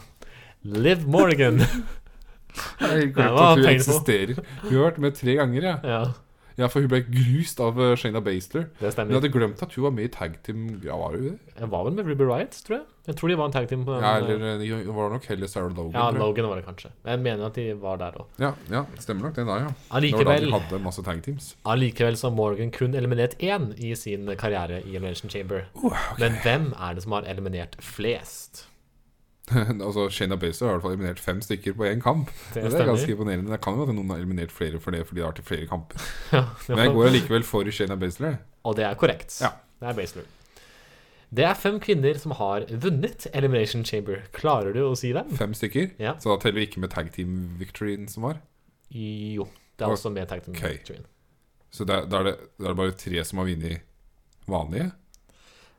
Speaker 1: Liv Morgan.
Speaker 2: Jeg har helt
Speaker 1: Det
Speaker 2: glemt
Speaker 1: var
Speaker 2: at hun
Speaker 1: penger på.
Speaker 2: eksisterer. Hun har vært med tre ganger, ja.
Speaker 1: Ja,
Speaker 2: ja for hun ble grust av eh, Shayna Baszler.
Speaker 1: det
Speaker 2: Men jeg
Speaker 1: stemmer.
Speaker 2: hadde glemt at hun var med i tag team. Ja, var hun det?
Speaker 1: Jeg var vel med Ruby Riot, tror jeg. Jeg tror de var en tag team på den.
Speaker 2: Ja, eller eh, hun var nok heller Sarah Logan.
Speaker 1: ja,
Speaker 2: tror jeg.
Speaker 1: Logan var det kanskje. Jeg mener at de var der òg.
Speaker 2: ja, ja, stemmer nok det da, ja. Det var da
Speaker 1: Allikevel,
Speaker 2: de hadde masse tag teams.
Speaker 1: allikevel så har Morgan kun eliminert én i sin karriere i Elimination Chamber.
Speaker 2: Uh,
Speaker 1: Men hvem er det som har eliminert flest?
Speaker 2: altså, Shayna Baszler har i hvert fall eliminert fem stykker på én kamp.
Speaker 1: Det
Speaker 2: Det, er
Speaker 1: stemmer.
Speaker 2: ganske imponerende. Det kan jo at noen har eliminert flere for det, fordi de har til flere kamper.
Speaker 1: Ja, det
Speaker 2: Men jeg
Speaker 1: var-
Speaker 2: går allikevel for Shayna Baszler.
Speaker 1: Og det er korrekt.
Speaker 2: Ja.
Speaker 1: Det er Basler. Det er fem kvinner som har vunnet Elimination Chamber. Klarer du å si dem?
Speaker 2: Fem stykker.
Speaker 1: Ja.
Speaker 2: Så da teller vi ikke med tag team-victoryen som var.
Speaker 1: Jo. Det er også med tag team.
Speaker 2: Ok. Så da da er, det- da er det bare tre som har vunnet vanlige?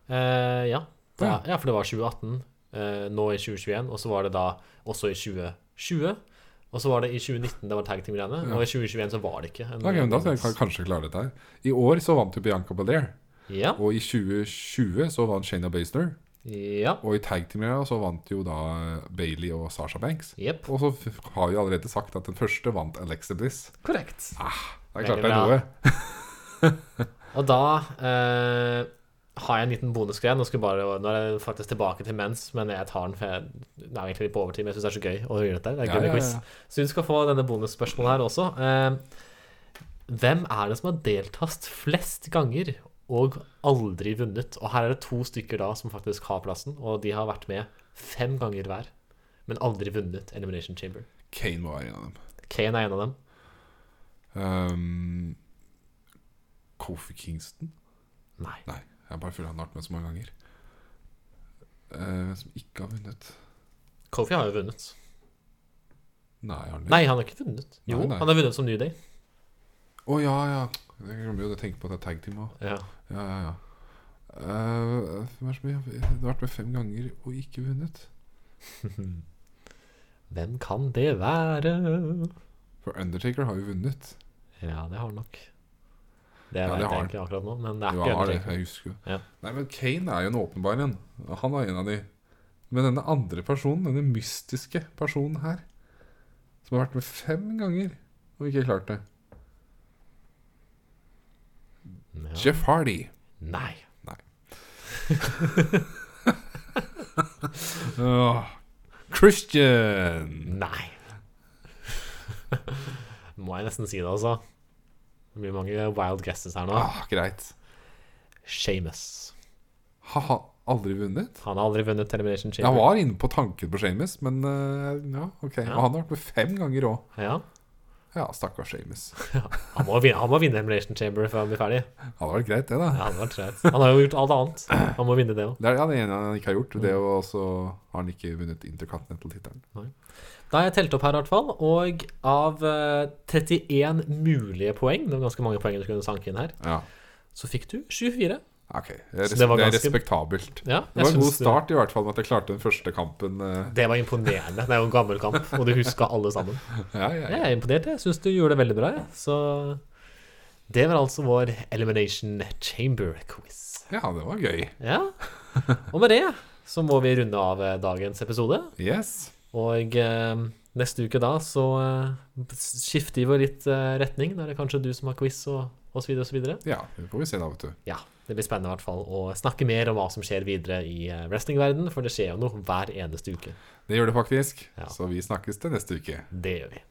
Speaker 1: Eh, ja. Det,
Speaker 2: Ja.
Speaker 1: ja, for det var 2018, eh, nå i 2021, og så var det da også i 2020. Og så var det i 2019 det var tag team-greiene, og i 2021 så var det ikke. En,
Speaker 2: Ok, men Da skal jeg kan- kanskje klare dette her. I år så vant jo Bianca Belair.
Speaker 1: Ja.
Speaker 2: Og i 2020 så vant Shayna Baszler.
Speaker 1: Ja.
Speaker 2: Og i tagteamet så vant jo da eh, Bailey og Sasha Banks.
Speaker 1: Jepp.
Speaker 2: Og så f- har vi allerede sagt at den første vant Alexa Bliss.
Speaker 1: Korrekt.
Speaker 2: Det er
Speaker 1: Veldig
Speaker 2: klart det er
Speaker 1: bra.
Speaker 2: noe.
Speaker 1: Og da eh, har jeg en liten bonusgreie. Nå, skal jeg bare, nå er jeg faktisk tilbake til mens, men jeg tar den, for jeg den er egentlig litt på overtid. Men jeg syns det er så gøy å gjøre dette. her. Det er
Speaker 2: Ja,
Speaker 1: gøy med
Speaker 2: ja,
Speaker 1: quiz.
Speaker 2: ja.
Speaker 1: Så hun skal få denne bonusspørsmålet her også. Eh, hvem er det som har deltatt flest ganger og aldri vunnet? Og her er det to stykker da som faktisk har plassen, og de har vært med fem ganger hver. Men aldri vunnet Elimination Chamber.
Speaker 2: Kane må være en av dem.
Speaker 1: Kane er en av dem.
Speaker 2: Um, Kofi Kingston?
Speaker 1: Nei.
Speaker 2: Nei, jeg bare føler han har vært med så mange ganger. Eh, som ikke har vunnet.
Speaker 1: Kofi har jo vunnet.
Speaker 2: Nei, har han det?
Speaker 1: Nei, han har ikke vunnet. Jo,
Speaker 2: Nei, nei.
Speaker 1: han har vunnet som New Day.
Speaker 2: Å ja, ja. Jeg glemmer jo å tenke på at det er tag team òg.
Speaker 1: Ja.
Speaker 2: Ja, ja, ja. Eh, hvem er det som har det har vært med fem ganger og ikke vunnet.
Speaker 1: Hvem kan det være?
Speaker 2: For Undertaker har jo vunnet.
Speaker 1: Ja, det har han nok. Det
Speaker 2: Ja,
Speaker 1: vet
Speaker 2: det
Speaker 1: jeg
Speaker 2: har
Speaker 1: ikke akkurat nå, men det er
Speaker 2: Jo,
Speaker 1: ikke
Speaker 2: han har det.
Speaker 1: Ah, Undertaker.
Speaker 2: Jeg husker jo.
Speaker 1: Ja.
Speaker 2: Nei, men Kane er jo en åpenbar en. Han er en av de. Men denne andre personen, denne mystiske personen her, som har vært med fem ganger og ikke klart det
Speaker 1: Ja.
Speaker 2: Jeff Hardy.
Speaker 1: Nei.
Speaker 2: Åh, Christian!
Speaker 1: Nei. Må jeg nesten si det, altså. Det blir mange wild guesses her nå.
Speaker 2: Ah, greit.
Speaker 1: Seamus.
Speaker 2: Har han aldri vunnet?
Speaker 1: Han har aldri vunnet Elimination
Speaker 2: Jeg
Speaker 1: Chamber.
Speaker 2: var inne på tanken på Shames, men eh, ja, ok. Og han har vært med fem ganger òg.
Speaker 1: Ja.
Speaker 2: Ja, stakkars Shames.
Speaker 1: Han, må vinne, han må vinne Elimination Chamber før han blir ferdig.
Speaker 2: Hadde vært greit, det, da.
Speaker 1: Ja, det var greit. Han har jo gjort alt annet. Han må vinne det òg.
Speaker 2: Det er ja, det ene han ikke har gjort.
Speaker 1: Mm.
Speaker 2: Det og så har han ikke vunnet Intercontinental-tittelen.
Speaker 1: Da har jeg telt opp her, i hvert fall. Og av eh, 31 mulige poeng, det var ganske mange poeng du kunne sanke inn her,
Speaker 2: Ja.
Speaker 1: så fikk du 24.
Speaker 2: Ok, det er,
Speaker 1: Så
Speaker 2: res
Speaker 1: det var
Speaker 2: det er
Speaker 1: ganske-
Speaker 2: respektabelt.
Speaker 1: Ja,
Speaker 2: Det var
Speaker 1: jeg
Speaker 2: en god
Speaker 1: syns
Speaker 2: start, i hvert fall, med at jeg klarte den første kampen. eh,
Speaker 1: Det var imponerende. Det er jo en gammel kamp, og du huska alle sammen.
Speaker 2: Ja, ja, ja.
Speaker 1: Jeg er imponert. Jeg syns du gjorde det veldig bra. jeg. Så det var altså vår Elimination Chamber-quiz.
Speaker 2: ja, det var gøy.
Speaker 1: Ja. Og med det så må vi runde av eh, dagens episode.
Speaker 2: Yes.
Speaker 1: Og eh, neste uke da så eh, skifter vi litt eh, retning. Da er det kanskje du som har quiz og, og så videre og så videre.
Speaker 2: Ja, det får vi se da, vet du.
Speaker 1: Ja, det blir spennende i hvert fall å snakke mer om hva som skjer videre i eh, wrestlingverden, for det skjer jo noe hver eneste uke.
Speaker 2: Det gjør det faktisk.
Speaker 1: Ja.
Speaker 2: Så vi snakkes til neste uke.
Speaker 1: Det gjør vi.